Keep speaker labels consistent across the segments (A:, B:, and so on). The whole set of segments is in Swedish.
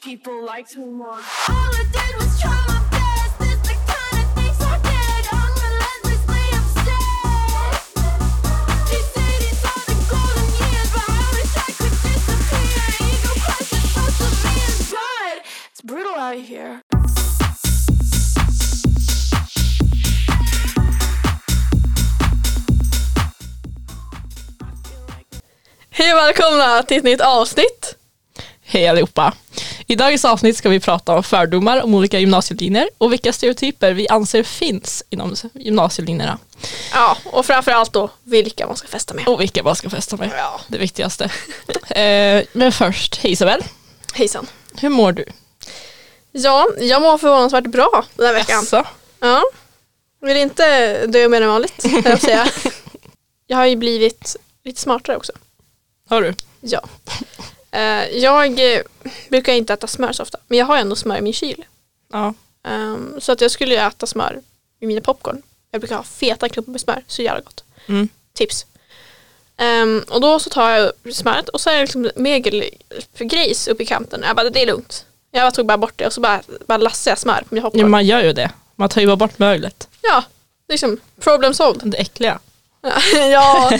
A: people like to mourn.
B: All I did was try my best. It's the kind of things I did. I'm relentlessly obsessed. They say these are the golden years, but I wish I could disappear. Ego crushes both of me and God. It's brutal out here.
C: Hej och välkomna till ett nytt avsnitt.
D: Hej allihopa! I dagens avsnitt ska vi prata om fördomar om olika gymnasielinjer och vilka stereotyper vi anser finns inom gymnasielinjerna.
C: Ja, och framförallt då vilka man ska festa med.
D: Och vilka man ska festa med. Det viktigaste. eh, men först, hej Isabel.
C: Hejsan.
D: Hur mår du?
C: Ja, jag mår förvånansvärt bra den här veckan.
D: Jaså?
C: Ja. Vill inte dö mer än vanligt, höll jag på att säga. Jag har ju blivit lite smartare också.
D: Har du?
C: Ja. Eh, Jag eh, brukar inte äta smör så ofta, men jag har ändå smör i min kyl.
D: Ja.
C: Ehm, Så att jag skulle ju äta smör i mina popcorn. Jag brukar ha feta klumpar med smör, så jävla gott.
D: Mm.
C: tips. Ehm, och då så tar jag smöret och så är det liksom mögelgrejs uppe i kanten. Jag bara, det är lugnt. Jag bara tog bara bort det och så bara, bara lassade jag smör på min
D: Ja,
C: popcorn.
D: man gör ju det. Man tar ju bara bort möglet.
C: Ja, liksom problem solved.
D: Det äckliga.
C: ja.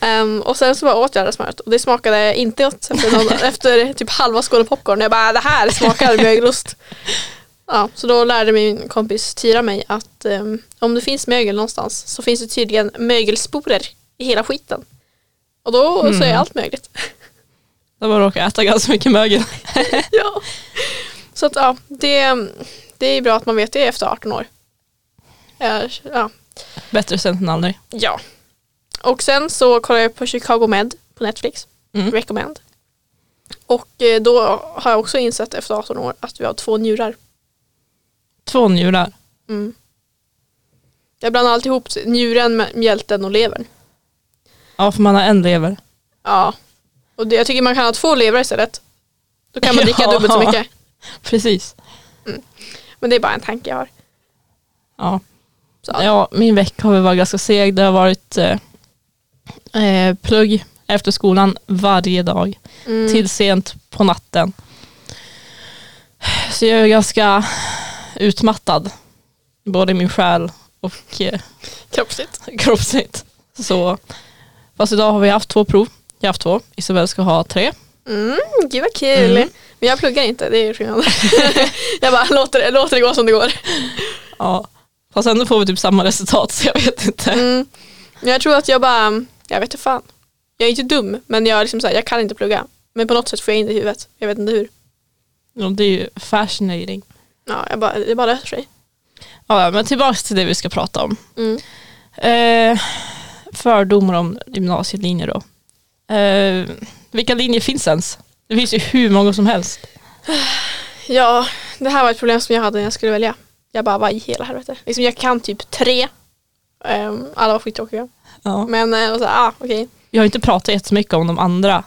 C: Ehm, och sen så bara åt jag det här smöret och det smakade inte gott efter, någon, efter typ halva skålen popcorn. Jag bara, det här smakar mögelost. Ja, så då lärde min kompis Tyra mig att ehm, om det finns mögel någonstans så finns det tydligen mögelsporer i hela skiten. Och då så är allt mögligt.
D: Där man råkar äta ganska mycket mögel.
C: ja. Så att ja, det, det är bra att man vet det efter 18 år. Eh, Ja.
D: Bättre sent än aldrig.
C: ja. Och sen så kollar jag på Chicago Med på Netflix.
D: Mm.
C: Recommend. Och eh, då har jag också insett efter 18 år att vi har två njurar.
D: Två njurar.
C: Mm. Jag blandar alltid ihop njuren, med mjälten och levern.
D: Ja, för man har en lever.
C: Ja. Och det, jag tycker man kan ha två lever istället. Då kan man dricka
D: Ja.
C: dubbelt så mycket.
D: Precis.
C: Men det är bara en tanke jag har.
D: Ja.
C: Så,
D: Ja, min vecka har väl varit ganska seg. Det har varit eh, eh, plugg efter skolan varje dag.
C: mm.
D: Till sent på natten. Så jag är ganska utmattad. Både i min själ och eh,
C: Kroppsligt.
D: kroppsligt. Så, fast idag har vi haft två prov. Jag har haft två. Isabel ska ha tre.
C: Mm, gud vad kul.
D: Mm.
C: Men jag pluggar inte, det är skillnad. jag bara låter det, låter det gå som det går.
D: Ja. Fast ändå får vi typ samma resultat så jag vet inte.
C: Mm. Men jag tror att jag bara, jag vet inte fan. Jag är inte dum, men jag, är liksom så här, jag kan inte plugga. Men på något sätt får jag in det i huvudet. Jag vet inte hur.
D: Ja, Det är ju fascinating.
C: Ja, jag bara, det bara löser sig.
D: Ja, men tillbaka till det vi ska prata om.
C: Mm.
D: Eh, fördomar om gymnasielinjer då. Eh, vilka linjer finns ens? Det finns ju hur många som helst.
C: Ja, det här var ett problem som jag hade när jag skulle välja. Jag bara, vad i hela helvete. Liksom, jag kan typ tre. Ehm, alla var skittråkiga.
D: Ja.
C: Men eh, och så, här, ah, okej.
D: Jag har inte pratat jättemycket om de andra,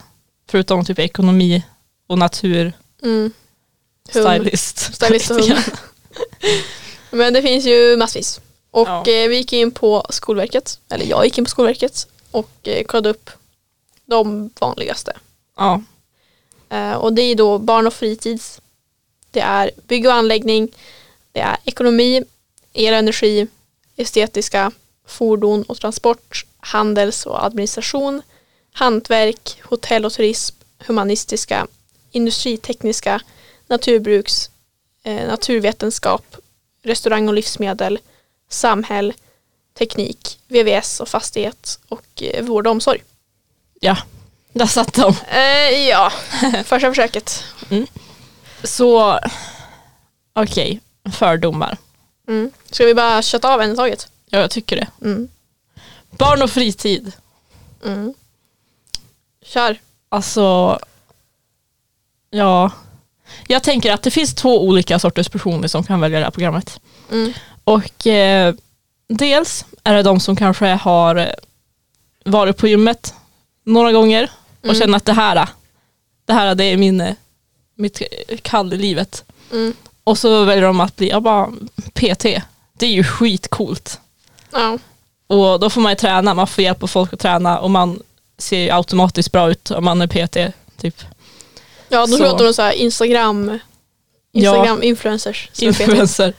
D: förutom typ ekonomi och natur,
C: Mm. Hund.
D: stylist.
C: Stylist och hund. Men det finns ju massvis. Och
D: Ja.
C: eh, vi gick in på Skolverket, eller jag gick in på Skolverket och eh, kollade upp de vanligaste.
D: Ja,
C: Eh, och det är då barn och fritids, det är bygg och anläggning, det är ekonomi, el och energi, estetiska, fordon och transport, handels och administration, hantverk, hotell och turism, humanistiska, industritekniska, naturbruks, eh, naturvetenskap, restaurang och livsmedel, samhäll, teknik, VVS och fastighet och eh, vård och omsorg.
D: ja. Där satt de.
C: Eh, ja, första försöket.
D: Så, okej, fördomar.
C: Mm. Ska vi bara köta av en i taget?
D: Ja, jag tycker det.
C: Mm.
D: Barn och fritid.
C: Mm. Kör.
D: Alltså, ja. Jag tänker att det finns två olika sorters personer som kan välja det här programmet.
C: Mm.
D: Och eh, dels är det de som kanske har eh, varit på gymmet några gånger och
C: Mm.
D: känner att det här, eh, det här eh, det är min, eh, mitt eh, kall i livet.
C: Mm.
D: Och så väljer de att bli, jag bara, PT. Det är ju skitcoolt.
C: Ja.
D: Och då får man ju träna, man får hjälp av folk att träna och man ser ju automatiskt bra ut om man är PT. Typ.
C: Ja, de
D: Så.
C: pratar om så här Instagram,
D: Ja.
C: Instagram-influencers. som är PT.
D: influencer.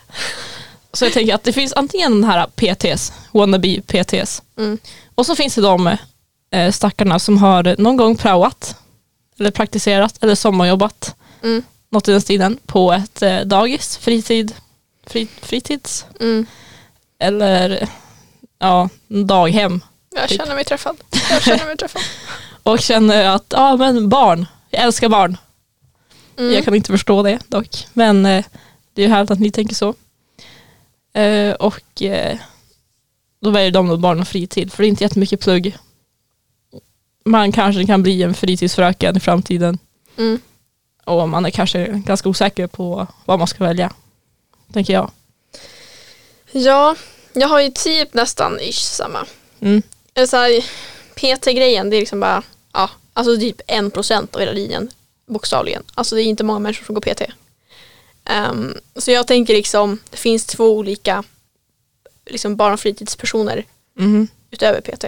D: Så jag tänker att det finns antingen den här PTs, wannabe PTs,
C: Mm.
D: och så finns det de eh, stackarna som har någon gång praoat, eller praktiserat, eller sommarjobbat,
C: Mm.
D: något i den stilen, på ett eh, dagis, fritid, fri, fritids,
C: Mm.
D: eller ja, daghem.
C: Jag
D: Typ.
C: känner mig träffad. Jag känner mig träffad.
D: Och känner att, ja men barn, jag älskar barn.
C: Mm.
D: Jag kan inte förstå det dock. Men eh, det är ju härligt att ni tänker så. Eh, och eh, då väljer de då barn och fritid. För det är inte jättemycket plugg. Man kanske kan bli en fritidsfröken i framtiden.
C: Mm.
D: Och man är kanske ganska osäker på vad man ska välja. Tänker jag.
C: Mm. Ja, jag har ju typ nästan ish samma.
D: Mm.
C: Eller Eh, så här, PT-grejen, det är liksom bara, ja, alltså typ en procent av hela linjen, bokstavligen. Alltså det är inte många människor som går PT. Ehm, så jag tänker liksom, det finns två olika liksom barn och fritidspersoner
D: Mhm.
C: utöver PT.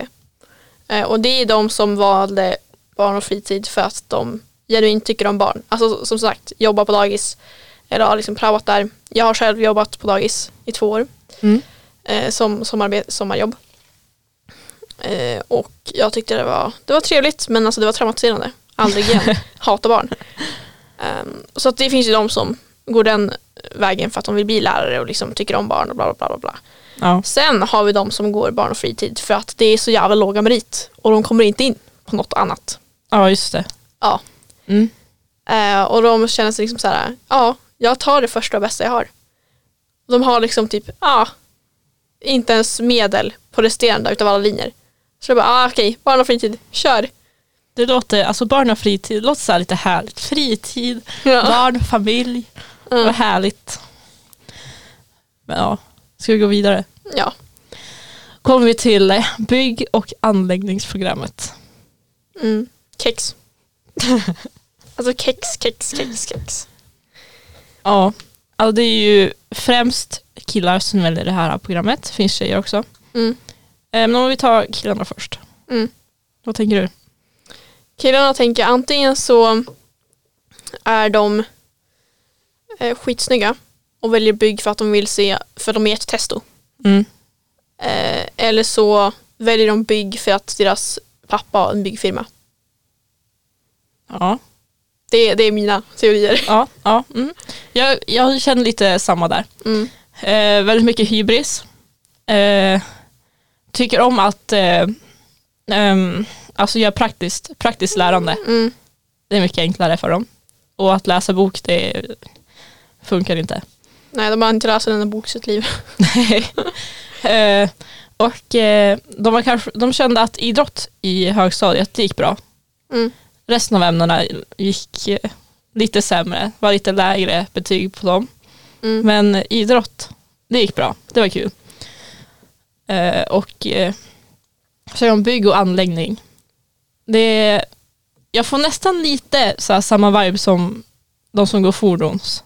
C: Eh, och det är de som valde barn och fritid för att de genuint tycker om barn. Alltså som sagt, jobba på dagis eller har liksom praoat där. Jag har själv jobbat på dagis i två år
D: Mm.
C: eh, som sommarbe- sommarjobb. Eh, och jag tyckte det var, det var trevligt men alltså det var traumatiserande. Aldrig igen. Hatar barn. Ehm, så att det finns ju de som går den vägen för att de vill bli lärare och liksom tycker om barn och bla bla bla. bla, bla.
D: Ja.
C: Sen har vi de som går barn och fritid för att det är så jävla låga merit och de kommer inte in på något annat.
D: ja, just det.
C: Ja.
D: Mm.
C: Eh, och de känner sig liksom så här, ja, jag tar det första och bästa jag har. De har liksom typ, ja, inte ens medel på resterande utav alla linjer. Så det är bara, ah, okej, barn och fritid, kör.
D: Det låter, alltså barn och fritid, det låter så här lite härligt. Fritid,
C: Ja.
D: barn, familj.
C: Mm.
D: Vad härligt. Men ja, ska vi gå vidare?
C: ja.
D: Kommer vi till eh, bygg och anläggningsprogrammet.
C: Mm. Kex. alltså kex, kex, kex, kex.
D: Ja, alltså det är ju främst killar som väljer det här programmet. Det finns tjejer också. Eh,
C: Mm.
D: Men om vi tar killarna först.
C: Mm.
D: Vad tänker du?
C: Killarna tänker jag, antingen så är de eh, skitsnygga och väljer bygg för att de vill se, för de är ett testo.
D: Mm.
C: Eh, eller så väljer de bygg för att deras pappa har en byggfirma.
D: Ja,
C: Det, det är mina teorier.
D: ja, ja. Mm. Jag, jag känner lite samma där.
C: Mm.
D: Eh, väldigt mycket hybris. Eh, tycker om att eh, ehm, alltså göra praktiskt, praktiskt lärande.
C: Mm.
D: Det är mycket enklare för dem. Och att läsa bok, det funkar inte.
C: Nej, de har inte läst en enda bok i sitt liv.
D: Eh, och eh, de, var kanske, de kände att idrott i högstadiet, det gick bra.
C: Mm.
D: Resten av ämnena gick eh, lite sämre, var lite lägre betyg på dem.
C: Mm.
D: Men idrott, det gick bra, det var kul. Eh, och eh, så är de bygg och anläggning. Det, jag får nästan lite så här, samma vibe som de som går fordons,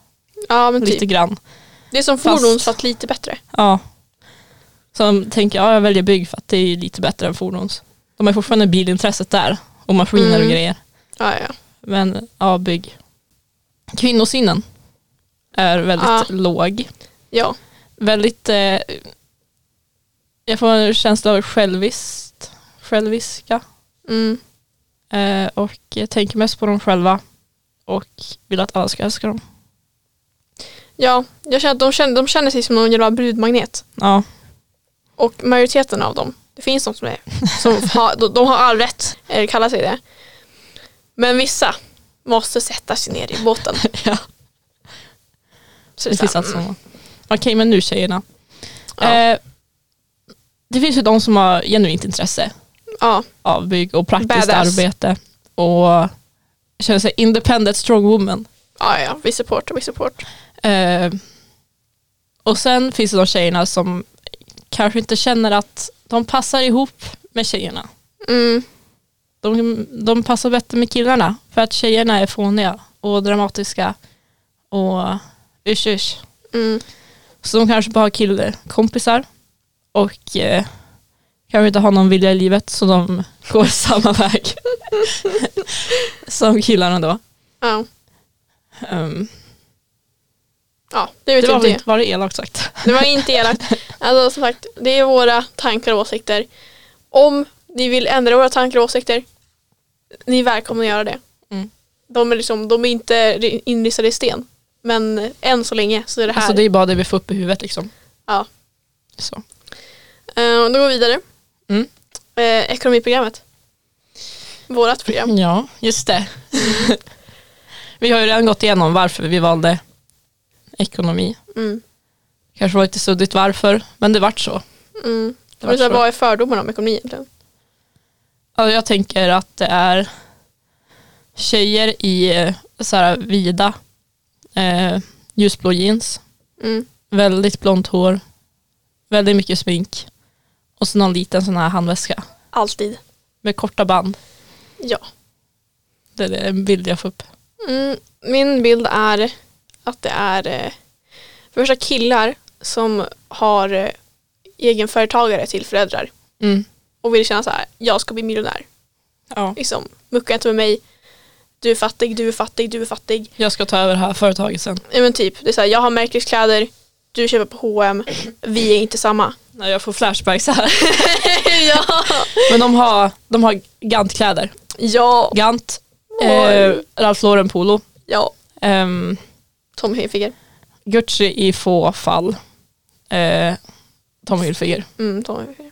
C: Ja, men
D: lite
C: typ.
D: grann.
C: Det är som
D: Fast-
C: fordons fast lite bättre.
D: Ja. Som tänker, ja jag väljer bygg för att det är lite bättre än fordons. De har fortfarande bilintresset där och maskiner
C: Mm.
D: och grejer.
C: Ja, ja, ja.
D: Men ja, bygg. Kvinnosynen är väldigt
C: Ja.
D: låg.
C: ja.
D: Väldigt, eh, jag får en känsla av själviskt, själviska.
C: Mm.
D: Eh, och jag tänker mest på dem själva och vill att alla ska älska dem.
C: ja. Jag känner att de känner, de känner sig som någon jävla brudmagnet.
D: Ja,
C: Och majoriteten av dem, det finns de som är, som har, de, de har all rätt, eller kallar sig det. Men vissa måste sätta sig ner i båten.
D: Ja.
C: Så det
D: det
C: är
D: finns
C: så här,
D: allt
C: mm,
D: sådana. Okej, men nu tjejerna.
C: Ja.
D: Eh, det finns ju de som har genuint intresse
C: ja,
D: av bygg och praktiskt
C: Badass.
D: arbete och känner sig independent strong woman.
C: ja, ja, vi supportar, vi support.
D: Eh, och sen finns det de tjejerna som kanske inte känner att de passar ihop med tjejerna.
C: Mm,
D: De, de passar bättre med killarna för att tjejerna är fåniga och dramatiska och usch usch.
C: mm,
D: Så de kanske bara har killkompisar och eh, kanske inte har någon vilja i livet så de går samma väg som killarna då.
C: ja.
D: Ehm,
C: Ja, det vet
D: det var,
C: inte Äh.
D: väl
C: det.
D: inte, var det elakt sagt?
C: Det var inte elakt. Alltså som sagt, det är våra tankar och åsikter. Om ni vill ändra våra tankar och åsikter, ni är välkomna att göra det.
D: Mm.
C: De, är liksom, de är inte ri- inristade i sten. Men än så länge så är det här.
D: Alltså det är bara det vi får upp i huvudet liksom.
C: Ja.
D: Så.
C: Eh, och då går vi vidare.
D: Mm.
C: Eh, ekonomiprogrammet. Vårat program.
D: Ja, just det. vi har ju redan gått igenom varför vi valde ekonomi.
C: Mm.
D: Kanske var lite suddigt varför, men det vart så.
C: Mm.
D: Det
C: Och så
D: vart
C: här,
D: så.
C: vad är fördomarna om ekonomi egentligen?
D: Alltså, jag tänker att det är tjejer i eh, så här, vida eh, ljusblå jeans,
C: Mm.
D: väldigt blont hår, väldigt mycket smink och så någon liten sån här handväska
C: Alltid.
D: med korta band.
C: Ja.
D: Det är en bild jag får upp.
C: Mm, min bild är att det är eh, för det första killar som har eh, egenföretagare till föräldrar
D: Mm.
C: och vill känna så här, jag ska bli miljonär.
D: Ja.
C: Liksom, mucka inte med mig, du är fattig, du är fattig, du är fattig.
D: Jag ska ta över det här företaget sen.
C: Ja, men typ, det är så här, jag har märkeskläder, du köper på H&M, vi är inte samma.
D: När jag får flashbacks här.
C: ja.
D: Men de har, de har Gant-kläder.
C: ja,
D: Gant, eh,
C: Oj.
D: Ralph Lauren Polo,
C: ja,
D: ehm,
C: Tom Hilfiger.
D: Gucci i få fall, eh, Tommy Hilfiger.
C: Mm, Tom Hilfiger.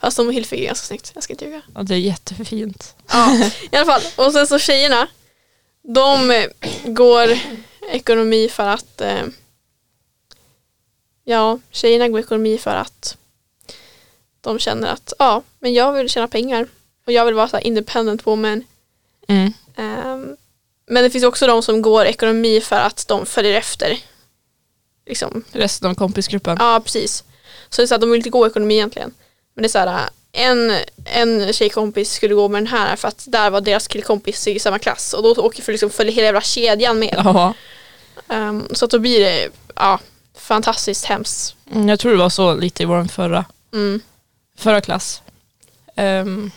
C: Fast Tom Hilfiger är ganska snyggt, jag ska inte ljuga.
D: Ja, det är jättefint.
C: Ja, i alla fall. Och sen så tjejerna, de eh, går ekonomi för att eh, ja, tjejerna går ekonomi för att de känner att ja, men jag vill tjäna pengar och jag vill vara så här independent woman.
D: Mm.
C: Ehm, men det finns också de som går ekonomi för att de följer efter. Liksom.
D: Resten av kompisgruppen.
C: Ja, precis. Så det är så att de vill inte gå ekonomi egentligen. Men det är så här, en, en tjejkompis skulle gå med den här för att där var deras killkompis i samma klass och då åker för liksom följer hela jävla kedjan med.
D: Ja.
C: Ehm, så att då blir det ja, fantastiskt hemskt.
D: Mm, Jag tror det var så lite i vår förra,
C: Mm.
D: förra klass. Ehm,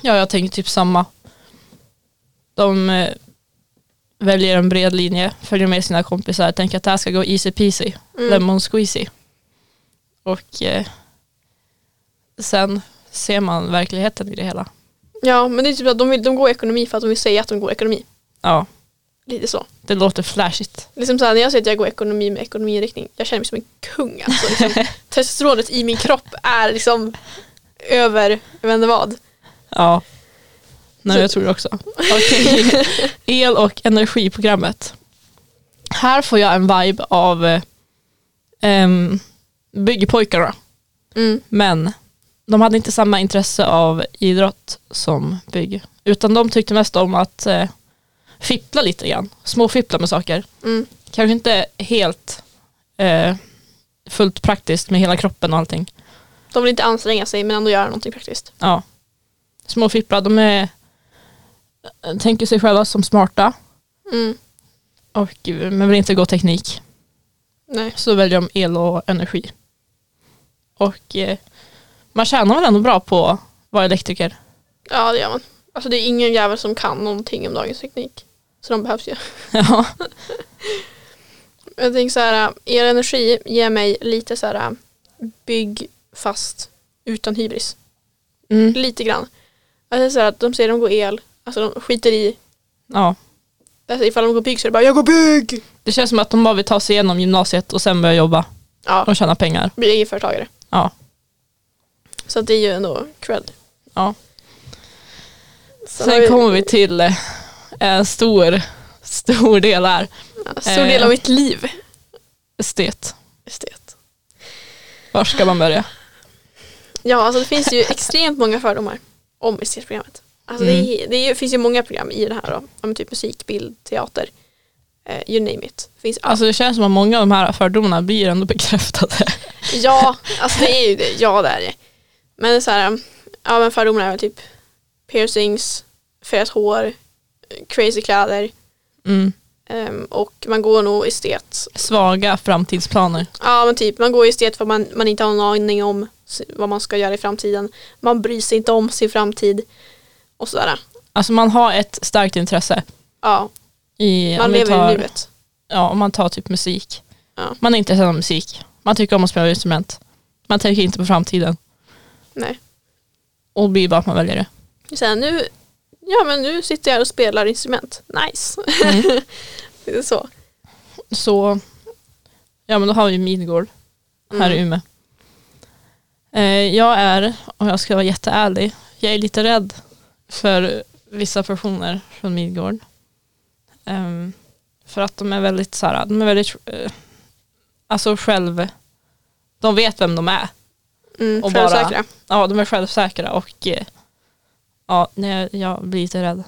D: ja, jag tänker typ samma. De eh, väljer en bred linje, följer med sina kompisar, tänker att det här ska gå easy peasy,
C: Mm.
D: lemon squeezy. Och eh, sen ser man verkligheten i det hela.
C: Ja, men det är typ att de, vill, de går ekonomi för att de vill säga att de går ekonomi.
D: Ja,
C: Lite så.
D: det låter flashigt.
C: Liksom så här, när jag säger att jag går ekonomi med ekonomiinriktning, jag känner mig som en kung. Alltså, liksom, testosteronet i min kropp är liksom över, jag vet inte vad.
D: Ja. Nej,
C: Så-
D: jag tror det också. Okej. El och energiprogrammet. Här får jag en vibe av eh, em, byggpojkarna,
C: Mm.
D: men de hade inte samma intresse av idrott som bygg, utan de tyckte mest om att eh, fippla lite grann, småfippla med saker.
C: Mm.
D: Kanske inte helt eh, fullt praktiskt med hela kroppen och allting.
C: De vill inte anstränga sig men ändå göra någonting praktiskt.
D: Ja. Små fipplar, de är, eh, tänker sig själva som smarta
C: Mm.
D: och, eh, men vill inte gå teknik.
C: Nej.
D: Så väljer de el och energi. Och eh, man tjänar väl ändå bra på att vara elektriker.
C: Ja det gör man. Alltså det är ingen jävel som kan någonting om dagens teknik. Så de behövs ju.
D: Ja.
C: Jag tänker så här, eh, er energi ger mig lite så här eh, bygg fast utan hybris.
D: Mm.
C: Lite grann. Alltså så här, att de säger de går el, alltså de skiter i,
D: ja.
C: alltså ifall de går bygg så är det bara jag går bygg!
D: Det känns som att de bara vill ta sig igenom gymnasiet och sen börja jobba
C: Ja,
D: och tjäna pengar.
C: blir egenföretagare.
D: Ja.
C: Så att det är ju ändå cred.
D: ja.
C: har vi-
D: Sen kommer vi till eh, en stor, stor del här.
C: ja, Stor del av
D: eh,
C: mitt liv.
D: Estet.
C: Estet.
D: Var ska man börja?
C: Ja, alltså det finns ju extremt många fördomar om estetprogrammet. Alltså det, är- det är ju- finns ju många program i det här då, Ja, men typ musik, bild, teater, eh, you name it. Det finns allt.
D: Alltså det känns som att många av de här fördomarna blir ändå bekräftade.
C: Ja, alltså det är ju det, ja det är det. Men det är så här, ja men fördomarna är väl typ piercings, färgat hår, eh, crazy kläder
D: Mm.
C: ehm, och man går nog estet.
D: Svaga framtidsplaner.
C: Ja men typ, man går ju estet för man, man inte har någon aning om s- vad man ska göra i framtiden. Man bryr sig inte om sin framtid och sådär.
D: Alltså man har ett starkt intresse
C: Ja,
D: I, om
C: Man
D: vi
C: lever
D: tar-
C: i nuet.
D: Ja, om man tar typ musik.
C: Ja.
D: Man är intresserad av musik. Man tycker om att spela instrument. Man tänker inte på framtiden.
C: Nej.
D: Och det blir bara att man väljer det.
C: Så här, nu, ja, men nu sitter jag och spelar instrument. Nice.
D: Mm.
C: Det är så.
D: Så, ja men då har vi Midgård här i Umeå. Eh, jag är, om jag ska vara jätteärlig, jag är lite rädd för vissa personer från Midgård. Ehm, för att de är väldigt så här, de är väldigt, eh, alltså själv, de vet vem de är.
C: Mm,
D: Och
C: och
D: bara-
C: bara...
D: Ja, de är självsäkra och eh, ja, nej, jag blir lite rädd.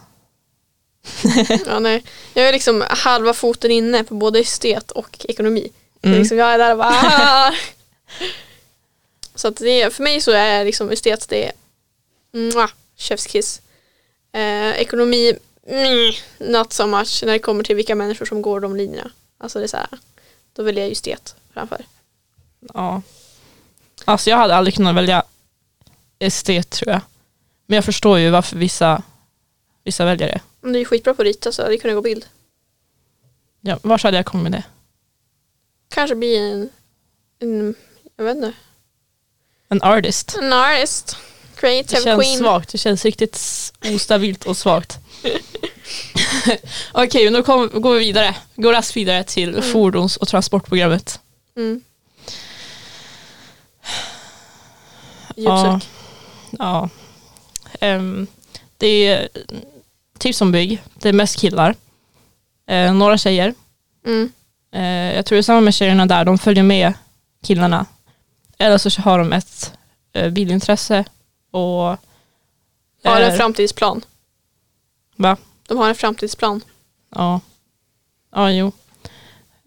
C: Ja, nej. Jag är liksom halva foten inne på både estet och ekonomi. Så
D: Mm.
C: liksom jag är där och bara "Ah!" Så att det, för mig så är liksom estet det är mwah, chefskiss. Eh, ekonomi, mm, not so much när det kommer till vilka människor som går de linjerna. Alltså det är så här, då väljer jag ju estet framför.
D: Ja. Alltså jag hade aldrig kunnat välja estet tror jag. Men jag förstår ju varför vissa, vissa väljer det.
C: Om du är ju skitbra på att rita så hade det kunnat gå bild.
D: Ja, vars hade jag kommit med det?
C: Kanske bli en, en jag vet inte,
D: En artist.
C: en artist. Creative
D: Det känns
C: Mm. queen.
D: svagt, det känns riktigt s- ostabilt och svagt. Okej, men då kom, går vi vidare. Går raskt vidare till fordons och transportprogrammet.
C: Mm.
D: Ja.
C: Djupsök.
D: ja. Ehm, det är typ som bygg, det är mest killar. Eh, några tjejer.
C: Mm.
D: Eh, jag tror det är samma med tjejerna där, de följer med killarna. Eller så har de ett eh, bilintresse och...
C: Har
D: Eh,
C: en framtidsplan.
D: Va?
C: De har en framtidsplan.
D: Ja. Ja, jo.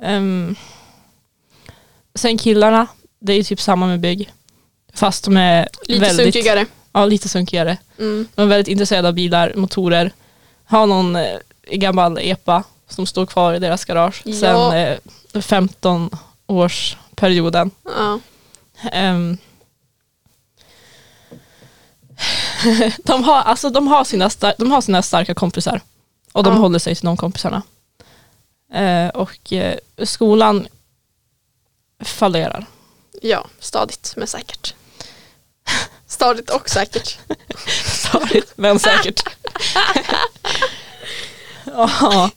D: Ehm. sen killarna, det är typ samma med bygg. Fast de är
C: Lite
D: väldigt,
C: sunkigare.
D: Ja, lite sunkigare.
C: Mm.
D: De är väldigt intresserade av bilar, motorer. Har någon eh, gammal epa som står kvar i deras garage
C: Ja.
D: sen eh, 15-årsperioden.
C: Ja.
D: Ehm. de, har, alltså, de, har sina star- de har sina starka kompisar och de
C: Ja.
D: håller sig till de kompisarna. Eh, och eh, skolan fallerar.
C: ja, stadigt men säkert. Stadigt och säkert.
D: Sorgligt men säkert. ja.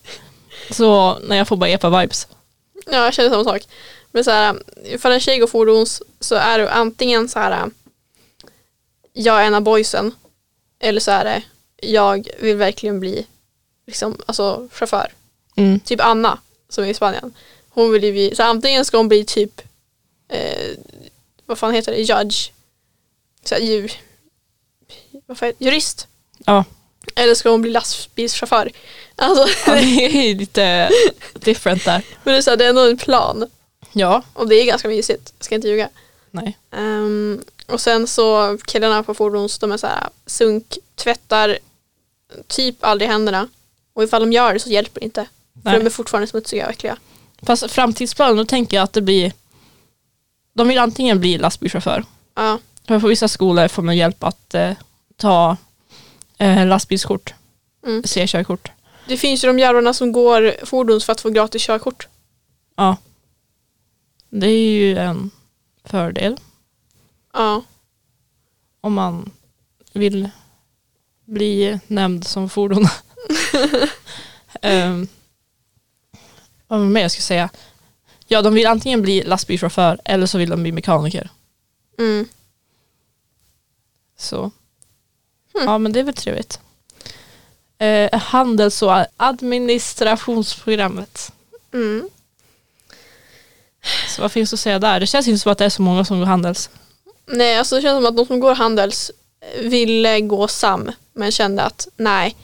D: Så när jag får bara epa-vibes.
C: Ja, jag känner samma sak. Men så här, ifall en tjej går fordons så är det antingen så här jag är en av boysen eller så är det jag vill verkligen bli liksom, alltså, chaufför.
D: Mm.
C: typ Anna som är i Spanien. Hon vill ju bli, så antingen ska hon bli typ, eh, vad fan heter det, judge, så här, djur, vad fan, heter- jurist.
D: Ja.
C: Eller ska hon bli lastbilschaufför? Alltså,
D: ja, det är lite different där.
C: men det är, så här, det är ändå en plan
D: Ja.
C: och det är ganska mysigt, ska inte ljuga.
D: Nej.
C: Ehm, och sen så killarna på fordons, de är så här sunk, tvättar typ aldrig händerna. Och ifall de gör det så hjälper det inte.
D: Nej.
C: För de är fortfarande smutsiga och äckliga.
D: Fast framtidsplanen, då tänker jag att det blir de vill antingen bli lastbilschaufför.
C: Ja,
D: För på vissa skolor får man hjälp att eh, ta eh, lastbilskort.
C: Mm.
D: C-körkort.
C: Det finns ju de jävlarna som går fordons för att få gratis körkort.
D: Ja. Det är ju en fördel
C: Ja,
D: om man vill bli nämnd som fordon. um, vad var det mer jag skulle säga? Ja, de vill antingen bli lastbilschaufför eller så vill de bli mekaniker.
C: mm.
D: Så. Ja men det är väl trevligt. Eh, handels och administrationsprogrammet.
C: Mm.
D: Så vad finns att säga där? Det känns inte som att det är så många som går handels.
C: Nej, alltså det känns som att de som går Handels ville gå SAM men kände att nej,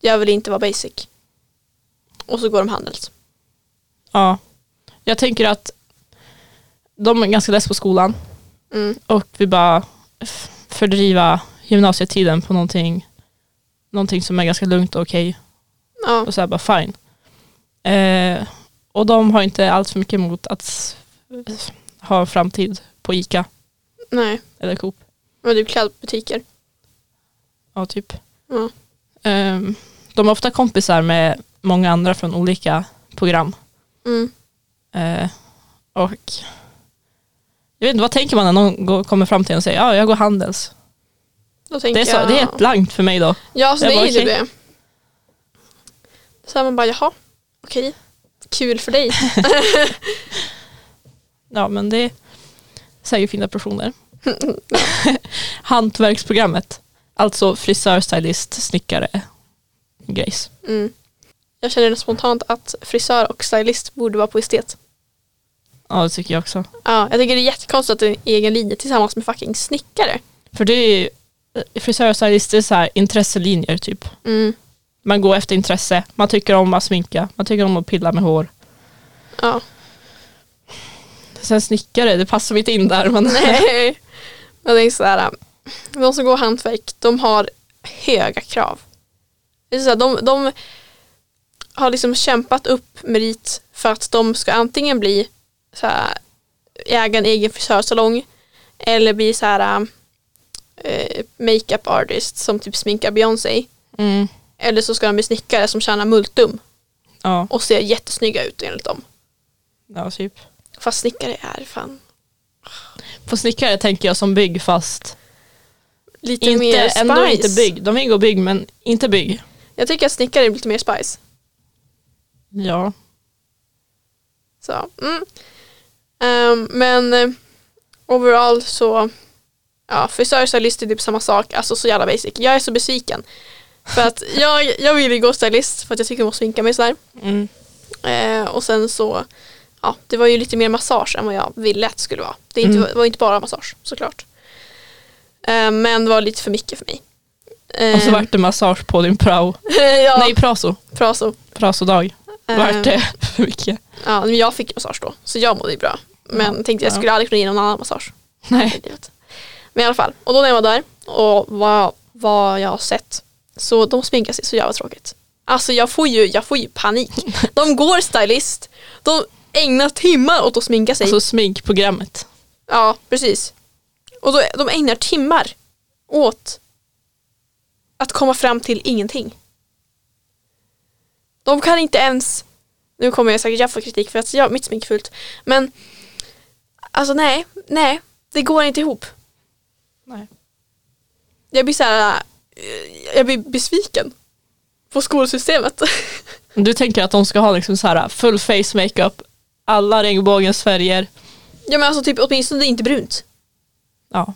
C: jag vill inte vara basic. Och så går de Handels.
D: Ja. Jag tänker att de är ganska less på skolan
C: Mm.
D: och vi bara f- fördriva gymnasietiden på någonting, någonting som är ganska lugnt och okej.
C: Ja,
D: Och så här bara fine. Eh, och de har inte allt för mycket emot att s- s- ha framtid på ICA
C: nej.
D: eller Coop.
C: Men det är klädbutiker.
D: Ja, typ.
C: Ja.
D: Ehm, de är ofta kompisar med många andra från olika program.
C: Mm.
D: Eh, och jag vet inte, vad tänker man när någon går, kommer fram till en och säger ja, jag går Handels.
C: Då tänker
D: Det är, så,
C: jag,
D: det är ett blankt för mig då.
C: Ja, så
D: Jag
C: det
D: bara,
C: är ju typ
D: okej.
C: det. Så här man bara, jaha, okej, kul för dig.
D: Ja, men det är säkert fina personer. Hantverksprogrammet, alltså frisör, stylist, snickare, grejs.
C: Mm. Jag känner spontant att frisör och stylist borde vara på estet.
D: Ja, det tycker jag också.
C: Ja, jag tycker det är jättekonstigt att det är en egen linje tillsammans med fucking snickare.
D: För det är ju, eh, frisör och stylist det är så här intresselinjer typ.
C: Mm.
D: Man går efter intresse, man tycker om att sminka, man tycker om att pilla med hår.
C: Ja.
D: Sen snickare, det passar inte in där. Men
C: Nej. Men det är sådär, de som går hantverk, de har höga krav. Det är sådär, de, de har liksom kämpat upp merit för att de ska antingen bli såhär, äga en egen frisörsalong eller bli såhär eh, makeup artist som typ sminkar Beyoncé.
D: mm,
C: Eller så ska de bli snickare som tjänar multum
D: ja,
C: och ser jättesnygga ut enligt dem.
D: ja, typ.
C: Fast snickare är fan
D: På snickare tänker jag som bygg fast
C: lite mer
D: inte,
C: spice.
D: ändå inte bygg. De vill gå bygg men inte bygg.
C: Jag tycker att snickare är lite mer spice.
D: Ja,
C: Så, mm. Ehm, men eh, overall så, ja, frisör, stylist är typ samma sak, alltså så jävla basic. Jag är så besviken. För att jag, jag vill ju gå stylist för att jag tycker om att sminka mig sådär.
D: mm,
C: Eh, och sen så, ja, det var ju lite mer massage än vad jag ville att det skulle vara. Det är inte,
D: Mm.
C: var inte bara massage såklart. Eh, men det var lite för mycket för mig. Eh,
D: Och så vart det massage på din prao.
C: Ehm, ja,
D: Nej, praso.
C: bra så.
D: Prasodag.
C: Eh,
D: Vart det för mycket?
C: Ja, men jag fick massage då, så jag mådde ju bra. Men tänkte jag
D: Ja.
C: skulle aldrig kunna ge någon annan massage.
D: Nej.
C: Idiot. Men i alla fall, och då när jag var där och vad, vad jag har sett så de sminkar sig så jävla tråkigt. Alltså jag får ju, jag får ju panik. De går stylist, de ägnar timmar åt att sminka sig.
D: Alltså sminkprogrammet.
C: ja, precis. Och då, de ägnar timmar åt att komma fram till ingenting. De kan inte ens, nu kommer jag säkert jag få kritik för att jag, mitt smink är fult, men alltså nej, nej, det går inte ihop.
D: Nej.
C: jag blir så här, eh, jag blir besviken på skolsystemet.
D: Du tänker att de ska ha liksom så här full face makeup, alla regnbågens färger.
C: ja men alltså typ åtminstone det är inte brunt.
D: Ja,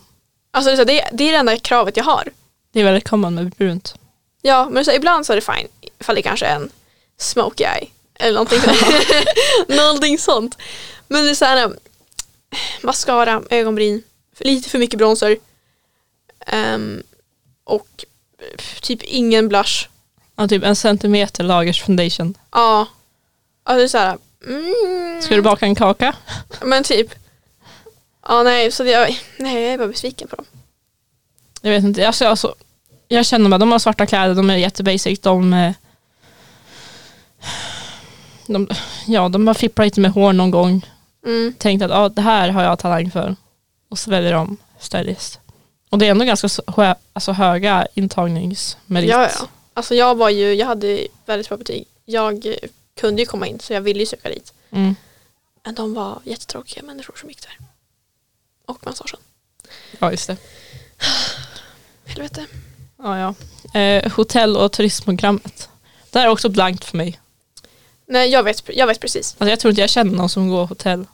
C: Alltså det är, så här, det, det är det enda kravet jag har.
D: det är väldigt common med brunt.
C: Ja men så här, ibland så är det fine ifall det kanske är en smoky eye eller någonting, någonting sånt. Men det är så här, eh, mascara, ögonbryn, för- lite för mycket bronzer Ehm, och eh, typ ingen blush.
D: Ja, typ en centimeter lagers foundation.
C: Ja, alltså det är så här, mm.
D: Ska du baka en kaka?
C: Men typ. Ja nej, så det, jag, nej, jag är bara besviken på dem.
D: Jag vet inte. Alltså, alltså, jag känner bara, de har svarta kläder, de är jättebasic. De, eh, de, ja, de har fipplat lite med hår någon gång.
C: Mm.
D: Tänkt att ah, det här har jag talang för. Och så väljer de stylist. Och det är ändå ganska så- hö- alltså, höga intagningsmerit.
C: Ja, ja. Alltså jag var ju, jag hade väldigt bra betyg. Jag eh, kunde ju komma in så jag ville ju söka dit.
D: Mm.
C: Men de var jättetråkiga människor som gick där. Och massagen.
D: ja just det.
C: Helvete.
D: Ja, ja. Eh, hotell och turistprogrammet. Det här är också blankt för mig.
C: Nej jag vet, jag vet precis.
D: Alltså, jag tror inte jag känner någon som går hotell.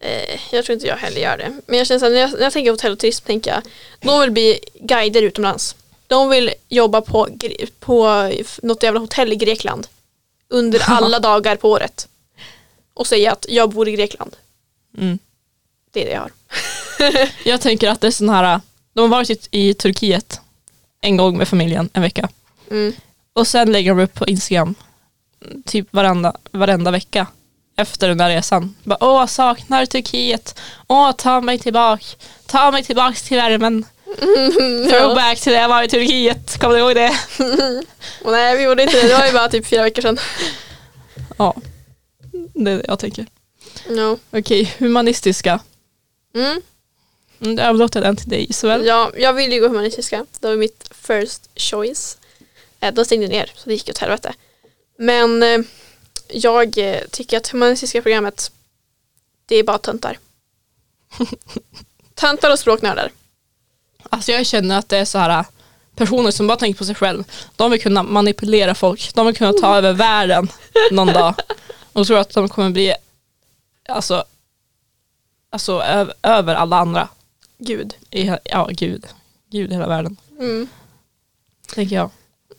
C: Eh, jag tror inte jag heller gör det. Men jag känner så här, när, jag, när jag tänker hotell och turism tänker jag, de vill bli guider utomlands. De vill jobba på, Gre- på något jävla hotell i Grekland. Under alla dagar på året. Och säga att jag bor i Grekland.
D: Mm.
C: Det är det jag har.
D: Jag tänker att det är sån här, eh, de har varit i, i Turkiet en gång med familjen en vecka.
C: Mm.
D: Och sen lägger de upp på Instagram mm, typ varenda, varenda vecka efter den där resan. Bara, Åh, saknar Turkiet. Åh, ta mig tillbaka. Ta mig tillbaka till värmen. Throwback till det jag var i Turkiet. Kommer du ihåg det?
C: Och nej, vi gjorde inte det. Det var ju bara typ fyra veckor sedan.
D: Ja, det är det jag tänker.
C: Ja.
D: Okej, humanistiska.
C: Mm.
D: Mm, Jag överlåter den till dig Isabel.
C: Ja, jag ville ju gå humanistiska. Det var mitt first choice. Eh, De stängde ner, så det gick åt helvete. Men eh, jag eh, tycker att humanistiska programmet, det är bara töntar. töntar och språknördar.
D: Alltså jag känner att det är så här äh, personer som bara tänker på sig själv. De vill kunna manipulera folk. De vill kunna ta över världen någon dag. Och tror att de kommer bli alltså, alltså ö- över alla andra.
C: Gud.
D: I, he- ja, gud. Gud i hela världen.
C: Mm.
D: Tänker jag.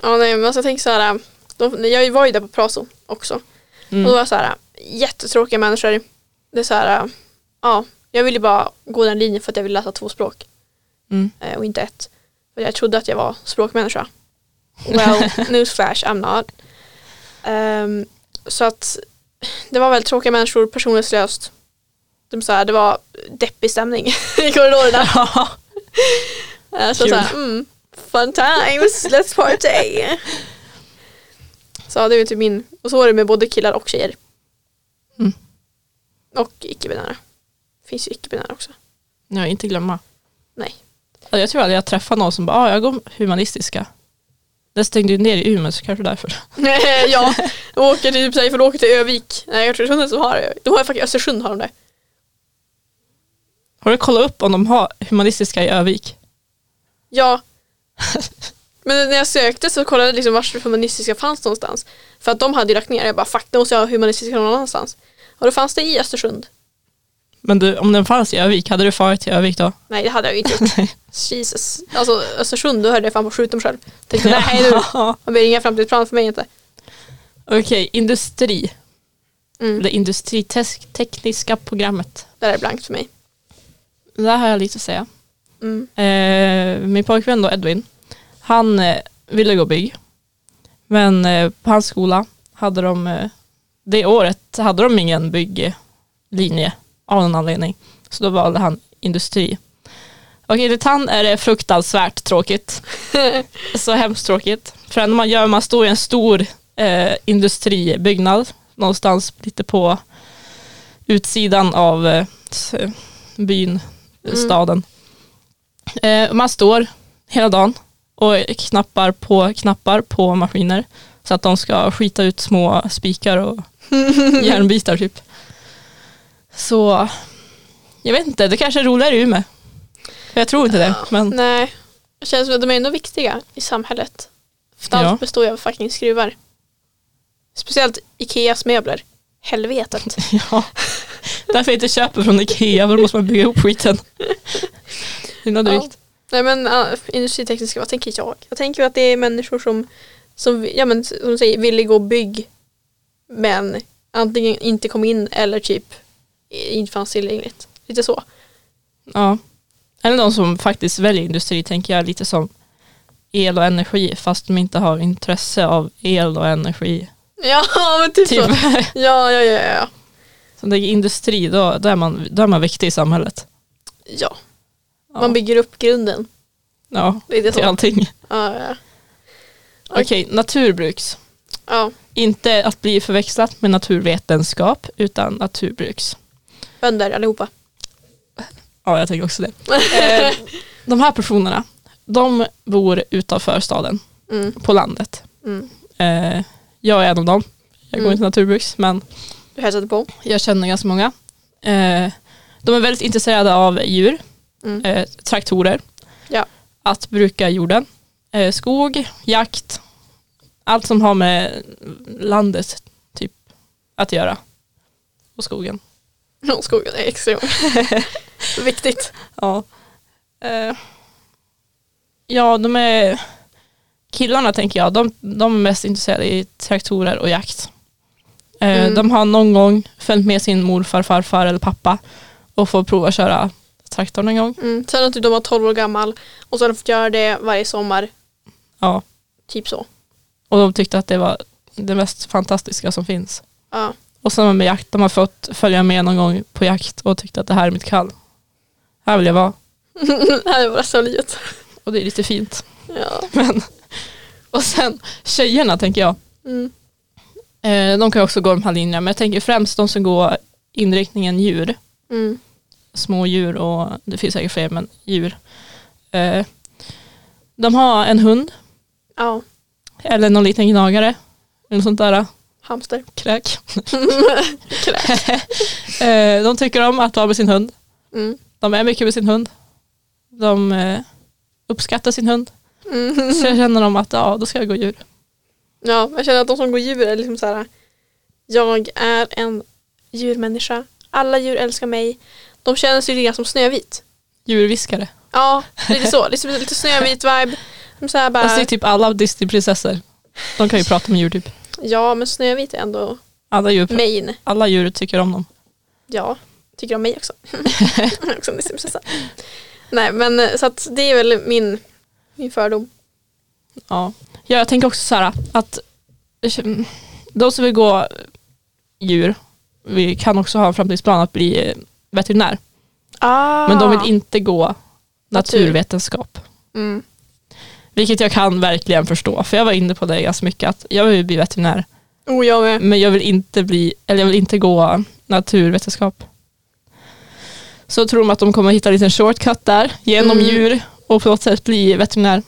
C: Ja, nej, men alltså, jag tänker så här, de, jag var ju där på Praso också.
D: Mm.
C: Och då var det så här, jättetråkiga människor. Det är så här, ja, jag ville bara gå den linjen för att jag ville läsa två språk
D: Mm.
C: eh, och inte ett. För jag trodde att jag var språkmänniska. Well, newsflash, I'm not. Ehm, så att det var väldigt tråkiga människor, personlighetslöst. De så här, det var deppig stämning i korridorerna. Eh, Så
D: Kul.
C: såhär, mm, fun times, let's party. Så det är ju typ min, och så är det med både killar och tjejer.
D: Mm.
C: Och icke-binära. Finns ju icke-binära också.
D: Ja, inte glömma.
C: Nej.
D: Alltså, jag tror aldrig jag träffar någon som bara, ah, jag går humanistiska. Det stängde ju ner i Umeå så kanske därför.
C: ja, jag åker till, typ såhär, ifall du åker till Övik. Nej, jag tror inte som har det. De har faktiskt, Östersund har de det.
D: Har du kollat upp om de har humanistiska i Övik?
C: Ja. Men när jag sökte så kollade jag liksom vars humanistiska fanns någonstans. För att de hade ju lagt ner. Jag bara, fuck, då måste jag ha humanistiska någon annanstans. Och då fanns det i Östersund.
D: Men du, om den fanns i Övik, hade du farit till Övik då?
C: Nej, det hade jag ju inte gjort. Jesus. Alltså Östersund, då hörde jag fan på att skjuta mig själv. Tänkte nej du,
D: Okej,
C: det blir inga framtidsplan för mig inte.
D: industri.
C: Mm.
D: Det industritekniska programmet.
C: Där är det blankt för mig.
D: Där har jag lite att säga.
C: Mm.
D: Eh, min pojkvän då, Edvin, han eh, ville gå bygg. Men eh, på hans skola hade de, eh, det året hade de ingen bygglinje av någon anledning. Så då valde han industri. Och enligt han är det fruktansvärt tråkigt. Så hemskt tråkigt. För när man gör, man står i en stor eh, industribyggnad någonstans lite på utsidan av eh, s- byn,
C: Mm.
D: staden. Eh, man står hela dagen och knappar på knappar på maskiner så att de ska skita ut små spikar och järnbitar typ. Så jag vet inte, det kanske är roligare i Umeå. Jag tror inte det. Men,
C: Nej, det känns som att de är ändå viktiga i samhället. För allt
D: Ja.
C: består ju av fucking skruvar. Speciellt Ikeas möbler. Helvetet.
D: ja. Därför jag inte köper från Ikea, för då måste man bygga ihop skiten. Det är något
C: Ja.
D: drygt.
C: Nej men uh, industritekniska, vad tänker jag? Jag tänker ju att det är människor som, som vi- ja men som du säger, ville gå bygg men antingen inte kom in eller typ inte fanns tillgängligt. Lite så.
D: Ja. Eller de som faktiskt väljer industri tänker jag lite som el och energi fast de inte har intresse av el och energi.
C: Ja men typ,
D: Typ.
C: så. Ja, ja, ja, ja.
D: Så det är industri, då, då, är man, då är man viktig i samhället.
C: ja.
D: Ja.
C: Man bygger upp grunden.
D: Ja,
C: Lite så.
D: till
C: Ja,
D: allting.
C: ja, ja.
D: Okej, naturbruks.
C: ja.
D: Inte att bli förväxlat med naturvetenskap utan naturbruks.
C: Bönder allihopa.
D: Ja, jag tänker också det. Eh, de här personerna, de bor utanför staden,
C: Mm,
D: på landet.
C: mm.
D: Eh, jag är en av dem. Jag går
C: Mm.
D: inte naturbruks, men
C: Du hälsade på.
D: jag känner ganska många. Eh, de är väldigt intresserade av djur,
C: Mm.
D: eh, traktorer,
C: Ja.
D: att bruka jorden, eh, skog, jakt, allt som har med landet typ att göra. Och skogen.
C: Ja, Skogen är extrem. Viktigt.
D: Ja. Eh, ja, de är killarna tänker jag, de, de är mest intresserade i traktorer och jakt. Eh,
C: Mm.
D: De har någon gång följt med sin morfar, farfar eller pappa och får prova att köra traktorn en gång.
C: Mm. Sen att typ de var 12 år gammal och så har de fått göra det varje sommar.
D: Ja.
C: Typ så.
D: Och de tyckte att det var det mest fantastiska som finns.
C: Ja.
D: Och sen med jakt, de har fått följa med någon gång på jakt och tyckte att det här är mitt kall. Här vill jag vara.
C: det här är bara så livet.
D: Och det är lite fint.
C: Ja.
D: Men, och sen tjejerna tänker jag,
C: Mm.
D: Eh, de kan också gå de här linjerna, men jag tänker främst de som går inriktningen djur,
C: Mm.
D: små djur och det finns säkert fler, men djur. Eh, de har en hund
C: Ja.
D: eller någon liten gnagare, en eller sånt där
C: Hamster.
D: kräk. Eh, de tycker om att vara med sin hund.
C: Mm.
D: De är mycket med sin hund. De eh, uppskattar sin hund.
C: Mm.
D: Så jag känner de att ja, då ska jag gå djur.
C: Ja, jag känner att de som går djur är liksom så här. Jag är en djurmänniska. Alla djur älskar mig. De känner sig lite grann som Snövit.
D: Djurviskare.
C: Ja, lite så. Liksom lite Snövit-vibe. De så här bara,
D: Alltså det är typ alla Disneyprinsessor. De kan ju prata med djur typ.
C: Ja, men Snövit är ändå
D: Alla djur,
C: main.
D: alla djur tycker om dem.
C: Ja, tycker om mig också. Jag är också en Disneyprinsessa. Nej, men eh, så att det är väl min, min fördom.
D: Ja. ja, jag tänker också så här att mm, de som vill gå djur, vi kan också ha en framtidsplan att bli eh, veterinär.
C: Ah.
D: Men de vill inte gå naturvetenskap.
C: Mm.
D: Vilket jag kan verkligen förstå, för jag var inne på det ganska mycket, att jag vill bli veterinär.
C: Oh, jag med.
D: Men jag vill inte, bli, eller jag vill inte gå naturvetenskap. Så tror de att de kommer hitta en liten shortcut där, genom
C: Mm.
D: djur och på något sätt bli veterinär.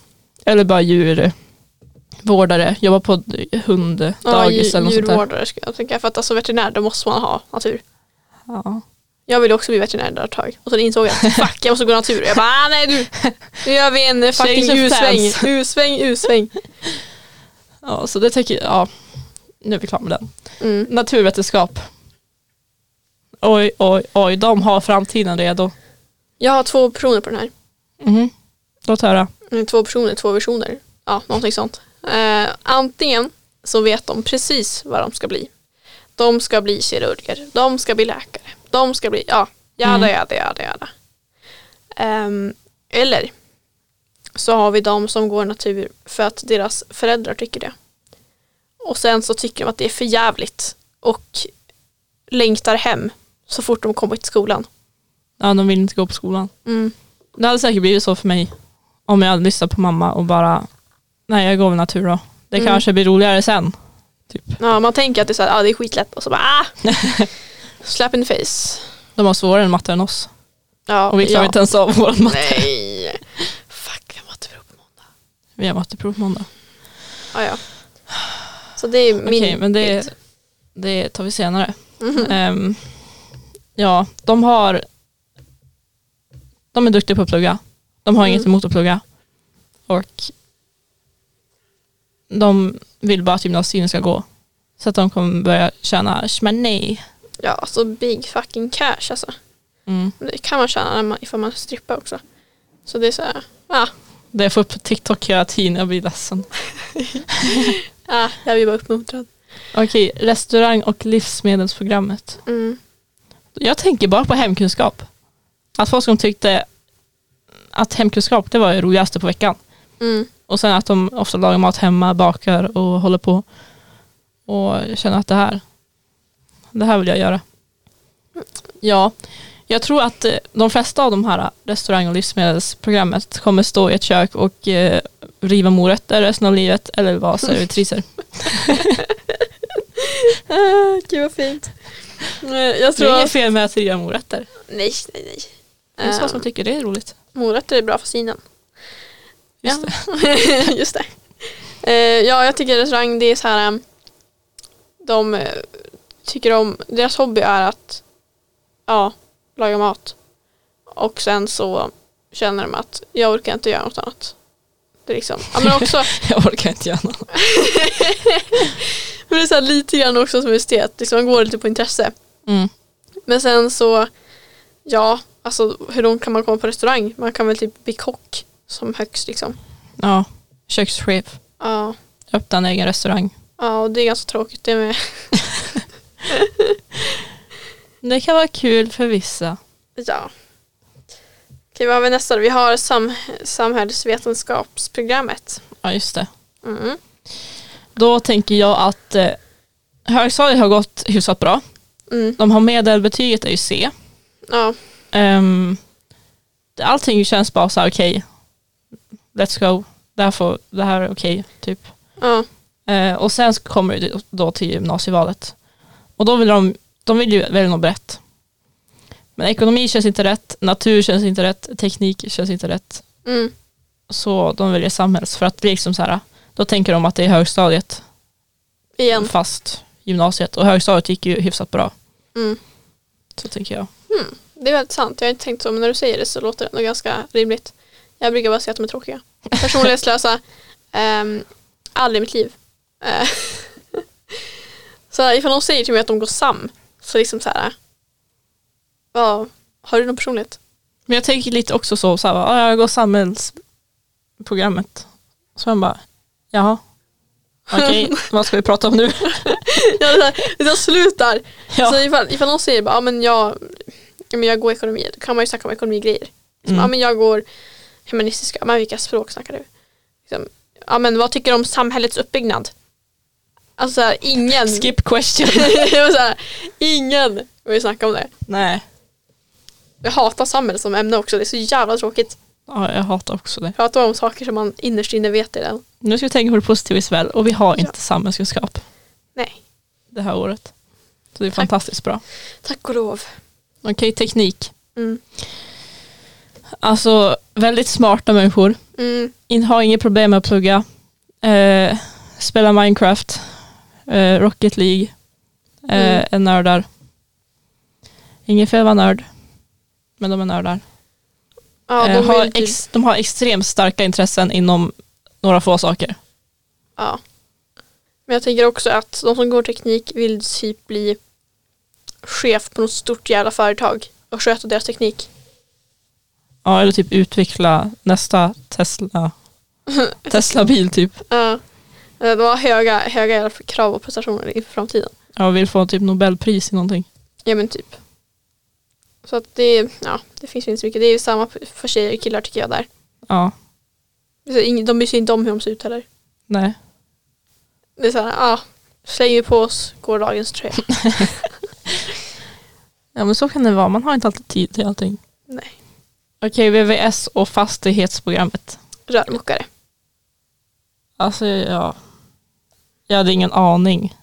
D: Eller bara djurvårdare, jobba på d- hunddagis
C: Ja,
D: eller något
C: djur-
D: sånt där.
C: djurvårdare skulle jag tänka. För att alltså veterinär, då måste man ha natur.
D: Ja.
C: Jag ville också bli veterinär där ett tag. Och sen insåg jag att fuck, jag måste gå natur. Jag bara, ah, nej du. Nu gör vi en eh, fucking
D: Change of stance.
C: U-sväng. U-sväng, U-sväng.
D: ja, så det tänker jag, ja, nu är vi klara med den.
C: Mm.
D: Naturvetenskap. Oj, oj, oj, de har framtiden redo.
C: Jag har två personer på den här.
D: Mhm. Låt höra.
C: Mm, Två personer, två versioner. Ja, någonting sånt. Eh, antingen så vet de precis vad de ska bli. De ska bli kirurger, de ska bli läkare, de ska bli, ja, jada,
D: Mm.
C: jada, jada, jada. Ehm, eller så har vi de som går natur för att deras föräldrar tycker det. Och sen så tycker de att det är för jävligt och längtar hem så fort de kommit till skolan.
D: Ja, de vill inte gå på skolan.
C: Mm.
D: Det hade säkert blivit så för mig om jag hade lyssnat på mamma och bara, nej jag går med natur då. Det
C: Mm.
D: kanske blir roligare sen. Typ.
C: Ja, man tänker att det är, så här, ah, det är skitlätt och så bara ah! Slap in the face.
D: De har svårare än matte än oss.
C: Ja,
D: Och vi klarar
C: ja.
D: inte ens av vår matte.
C: Nej. Fuck, jag måste prova på måndag.
D: Vi har matteprov på måndag.
C: Ah, ja. Så det är min
D: Okej, men det,
C: bild.
D: det tar vi senare.
C: Mhm.
D: Ehm, ja, de har, de är duktiga på att plugga. De har inget
C: Mm.
D: emot att plugga. Och de vill bara att gymnasiet ska gå. Så att de kommer börja tjäna money.
C: Ja, alltså big fucking cash alltså.
D: Mm.
C: Det kan man tjäna när man, ifall man strippar också. Så det är så här, ah,
D: Det jag får upp på TikTok hela tiden, jag blir ledsen.
C: ah, jag blir bara uppmuntrad.
D: Okej, restaurang och livsmedelsprogrammet.
C: Mm.
D: Jag tänker bara på hemkunskap. Att folk som tyckte att hemkunskap det var det roligaste på veckan.
C: Mm.
D: Och sen att de ofta lagar mat hemma, bakar och håller på. Och jag känner att det här, det här vill jag göra. Ja, jag tror att eh, de flesta av de här restaurang och livsmedelsprogrammet kommer stå i ett kök och eh, riva morötter resten av livet eller vara servitriser.
C: Ah, gud vad fint. Nej, Eh, Jag
D: Det är
C: tror
D: inget
C: att,
D: fel med att riva morötter.
C: nej, nej, nej.
D: Det är så
C: Ehm,
D: som typ- tycker det är roligt.
C: morötter är bra för synen.
D: Just
C: ja. det. Just det. Eh, ja, jag tycker restaurang, det är så här. eh, De eh, tycker om, deras hobby är att ja, laga mat. Och sen så känner de att jag orkar inte göra något annat. Det är liksom, ja, men också,
D: Jag orkar inte göra något.
C: men det är så här lite grann också som estet, liksom, man går lite på intresse.
D: Mm.
C: Men sen så, ja, alltså hur långt kan man komma på restaurang? Man kan väl typ bli kock som högst liksom.
D: Ja, kökschef,
C: Ja,
D: öppna en egen restaurang.
C: ja och det är ganska tråkigt det med.
D: Det kan vara kul för vissa.
C: Ja. Okej, vad har vi nästa då? Vi har sam samhällsvetenskapsprogrammet.
D: Ja, just det.
C: Mm.
D: Då tänker jag att eh, högstadiet har gått hyfsat bra.
C: Mm.
D: De har medelbetyget är ju C.
C: Ja.
D: Um, allting känns bara så här okej. Let's go. Det här, får, det här är okej, typ.
C: ja.
D: Eh, och sen så kommer det då till gymnasievalet. Och då vill de, de vill ju välja något brett. Men ekonomi känns inte rätt, natur känns inte rätt, teknik känns inte rätt.
C: Mm.
D: Så de väljer samhälls för att det är liksom så här, då tänker de att det är högstadiet.
C: igen.
D: fast gymnasiet. Och högstadiet gick ju hyfsat bra.
C: Mm.
D: Så tänker jag.
C: Det är väldigt sant, jag har inte tänkt så men när du säger det så låter det ändå ganska rimligt. Jag brukar bara säga att de är tråkiga. Personlighetslösa, um, aldrig i mitt liv. Eh, så ifall någon säger till mig att de går sam, så liksom så här, vad, har du någon personlighet?
D: Men jag tänker lite också så, så här, bara, "Ah, jag går samhällsprogrammet. Så man bara, jaha. Okej, vad ska vi prata om nu?
C: Ja, det där, det där slutar.
D: Ja.
C: Så ifall, ifall någon säger bara, ja, men jag, ja, men jag går ekonomi, då kan man ju snacka om ekonomigrejer. Så,
D: Mm.
C: ja, men jag går humanistiska, men vilka språk snackar du? Liksom, ja, men vad tycker du om samhällets uppbyggnad? Alltså så här, ingen,
D: Skip question.
C: Det var så här, ingen vill snacka om det.
D: Nej,
C: Jag hatar samhälle som ämne också, det är så jävla tråkigt.
D: ja, jag hatar också det.
C: Prata om saker som man innerst inne vet är den.
D: Nu ska vi tänka på det positiva istället och vi har inte samhällskunskap
C: Nej,
D: det här året. Så det är
C: Tack.
D: fantastiskt bra.
C: tack och lov.
D: Okej, teknik.
C: Mm.
D: Alltså väldigt smarta människor.
C: Mm.
D: In, har inget problem med att plugga. Eh, spela Minecraft. Eh, Rocket League. Eh,
C: Mm.
D: Är nördar. Inget fel att vara nörd. Men de är nördar.
C: Ja,
D: eh,
C: de
D: har
C: vill typ,
D: ex, de har extremt starka intressen inom några få saker.
C: ja. Men jag tänker också att de som går teknik vill typ bli chef på något stort jävla företag och sköta deras teknik.
D: Ja, eller typ utveckla nästa Tesla. Tesla-bil typ.
C: Ja. de har Eh, höga, höga jävla krav och prestationer inför framtiden.
D: Jag vill få typ Nobelpris i någonting.
C: Ja men typ. Så att det, ja, det finns ju inte så mycket. Det är ju samma för tjejer och killar tycker jag där.
D: Ja,
C: Så ingen- De bryr sig inte om hur de ser ut heller.
D: nej.
C: Det är såhär, ja, ah, slänger på oss gårdagens tröja.
D: Ja men så kan det vara, man har inte alltid tid till allting.
C: Nej,
D: Okej, VVS och fastighetsprogrammet.
C: rörmokare.
D: Alltså ja, jag hade ingen aning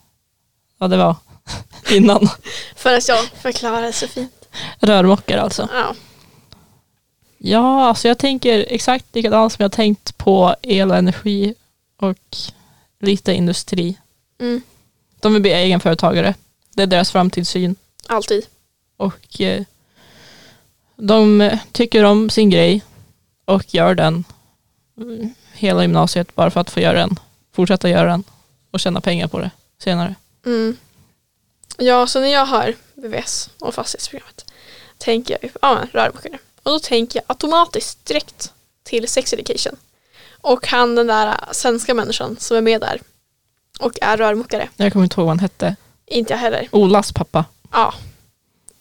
D: vad det var innan.
C: Förrän jag förklarade så fint.
D: Rörmokare alltså.
C: Ja,
D: Ja, alltså jag tänker exakt likadant som jag tänkt på el och energi och lite industri.
C: mm,
D: De vill bli egenföretagare. Det är deras framtidssyn.
C: alltid.
D: Och eh, de eh, tycker om sin grej och gör den mm, hela gymnasiet bara för att få göra den. Fortsätta göra den och tjäna pengar på det senare.
C: Mm. Ja, så när jag hör VVS och fastighetsprogrammet tänker jag, ju- ja men rörmokare. Och då tänker jag automatiskt direkt till sex education. Och han den där äh, svenska människan som är med där och är rörmokare.
D: Jag kommer inte ihåg vad han hette.
C: Inte jag heller.
D: Olas pappa.
C: Ja.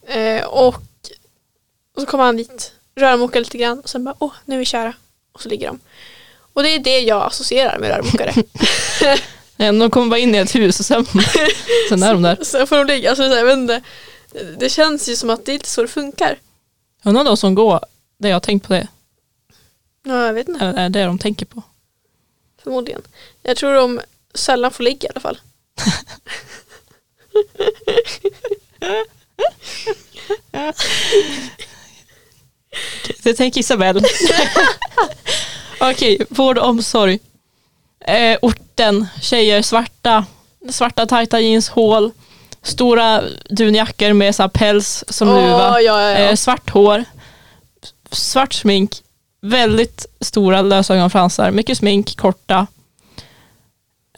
C: Eh, och, och så kommer han dit, rörmokar lite grann och sen bara åh, nu är vi kära. Och så ligger de. Och det är det jag associerar med rörmokare.
D: Nej, De kommer bara in i ett hus och sen, sen är de där.
C: så får de ligga, alltså, så här, jag vet inte. Det känns ju som att det är inte så det funkar.
D: Undrar om de som går där jag har tänkt på det.
C: Ja, jag vet inte,
D: Eller är det de tänker på?
C: förmodligen. Jag tror de sällan får ligga i alla fall.
D: Det tänker Isabelle. Okej, vård och omsorg. Eh, orten, tjejer, svarta, svarta tajta jeans, hål, stora dunjackor med så här päls som
C: Åh,
D: luva,
C: ja, ja, ja.
D: Eh, svart hår, svart smink, väldigt stora lösögonfransar, mycket smink, korta,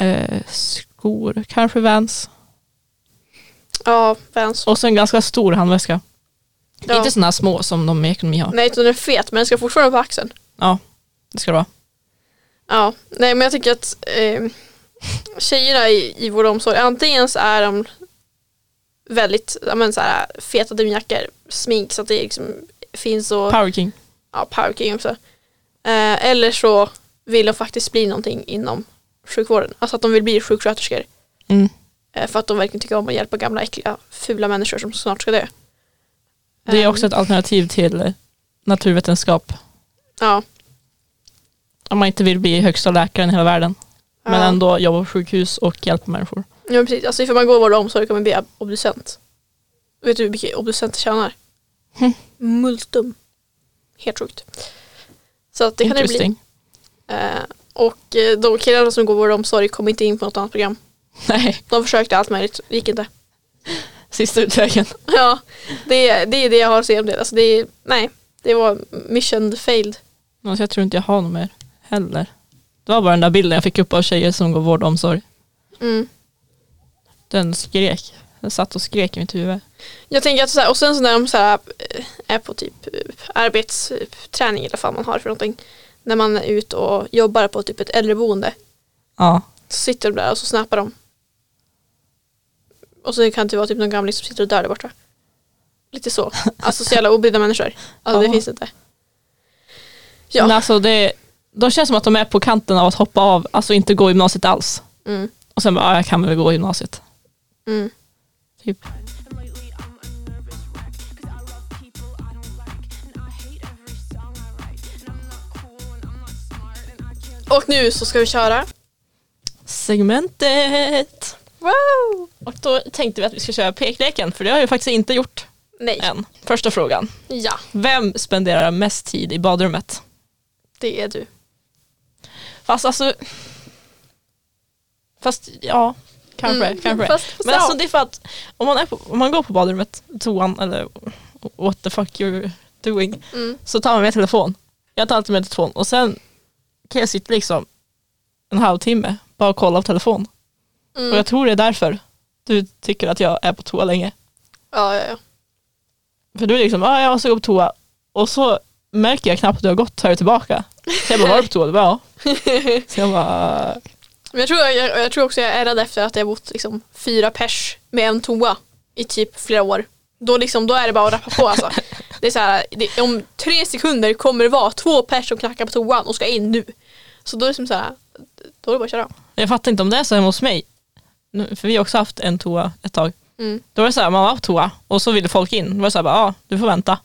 D: eh, skor, kanske Vans
C: Ja, Vans.
D: och så en ganska stor handväska.
C: Ja.
D: Inte sådana små som de i ekonomi har.
C: Nej, utan den är fet men den ska fortfarande vara på axeln.
D: Ja, det ska det vara.
C: Ja, nej men jag tycker att eh, tjejerna i, i vår omsorg, antingen så är de väldigt ja, men så här, feta dunjackor, smink så att det liksom finns och
D: Power King.
C: ja, power king också. Eh, eller så vill de faktiskt bli någonting inom sjukvården. Alltså att de vill bli sjuksköterskor.
D: Mm.
C: Eh, för att de verkligen tycker om att hjälpa gamla äckliga fula människor som snart ska dö.
D: Det är
C: Ehm,
D: också ett alternativ till eh, naturvetenskap.
C: Ja,
D: Om man inte vill bli högsta läkaren i hela världen. Men
C: Ja.
D: ändå jobba på sjukhus och hjälpa människor.
C: ja men precis. Alltså ifall man går vård och omsorg kommer man bli obducent. Vet du hur mycket obducenter tjänar?
D: Hm.
C: Multum. Helt sjukt. Så att det kan det bli.
D: Interesting.
C: Eh, och eh, de killarna som går vård och omsorg kommer inte in på något annat program.
D: Nej,
C: De försökte allt möjligt, gick inte.
D: sista utvägen.
C: Ja, det, det är det jag har att säga om det. Alltså det är, nej, det var mission failed.
D: Alltså, jag tror inte jag har något mer heller. Det var bara den där bilden jag fick upp av tjejer som går vård och omsorg.
C: Mm.
D: Den skrek. Den satt och skrek i mitt huvud.
C: Jag tänker att så här, och sen så när de så här, eh, är på typ eh, arbetsträning eller vad fan man har för någonting. När man är ute och jobbar på typ ett äldreboende.
D: Ja.
C: Så sitter de där och så snappar de. Och så kan det vara typ någon gamling som sitter och dör där borta. Lite så. Alltså så jävla obrydda människor. Alltså
D: Ja.
C: det finns inte.
D: Men
C: Ja.
D: alltså det, de känns som att de är på kanten av att hoppa av, alltså inte gå gymnasiet alls.
C: Mm.
D: Och sen bara, ja, jag kan väl gå gymnasiet.
C: Mm.
D: Typ.
A: And lately I'm a nervous wreck. Cause I love people I don't like. And I hate every song I write. And I'm not cool and I'm not smart. And I can't
C: Och nu så ska vi köra.
D: Segmentet!
C: Wow!
D: Och då tänkte vi att vi ska köra pekleken, för det har jag ju faktiskt inte gjort
C: Nej.
D: än. Första frågan.
C: Ja,
D: Vem spenderar mest tid i badrummet?
C: det är du.
D: Fast alltså... Fast ja, kanske.
C: Mm,
D: kanske.
C: fast- fast
D: Men
C: ja.
D: alltså det är för att om man, är på, om man går på badrummet, toan eller what the fuck you're doing,
C: Mm.
D: så tar man med telefon. Jag tar alltid med telefon och sen kan jag sitta liksom en halvtimme bara och kolla på telefon.
C: Mm.
D: Och jag tror det är därför du tycker att jag är på toa länge.
C: Ja, ja, ja.
D: För du är liksom, ah, jag måste gå på toa. Och så märker jag knappt att du har gått, tar jag tillbaka. Så jag bara, var du på toa? Du bara, ja. Så jag bara,
C: Men jag tror, jag, jag tror också jag ärrade efter att jag bott liksom fyra pers med en toa i typ flera år. Då, liksom, då är det bara att rappa på alltså. Det är så här, det, om tre sekunder kommer det vara två pers som knackar på toan och ska in nu. Så då är det som så här, då är det bara att köra.
D: jag fattar inte om det är så hemma hos mig. Nu- För vi har också haft en toa ett tag.
C: Mm.
D: Då var det så här, man var på toa och så ville folk in. Då var det så här, bara, ja, du får vänta.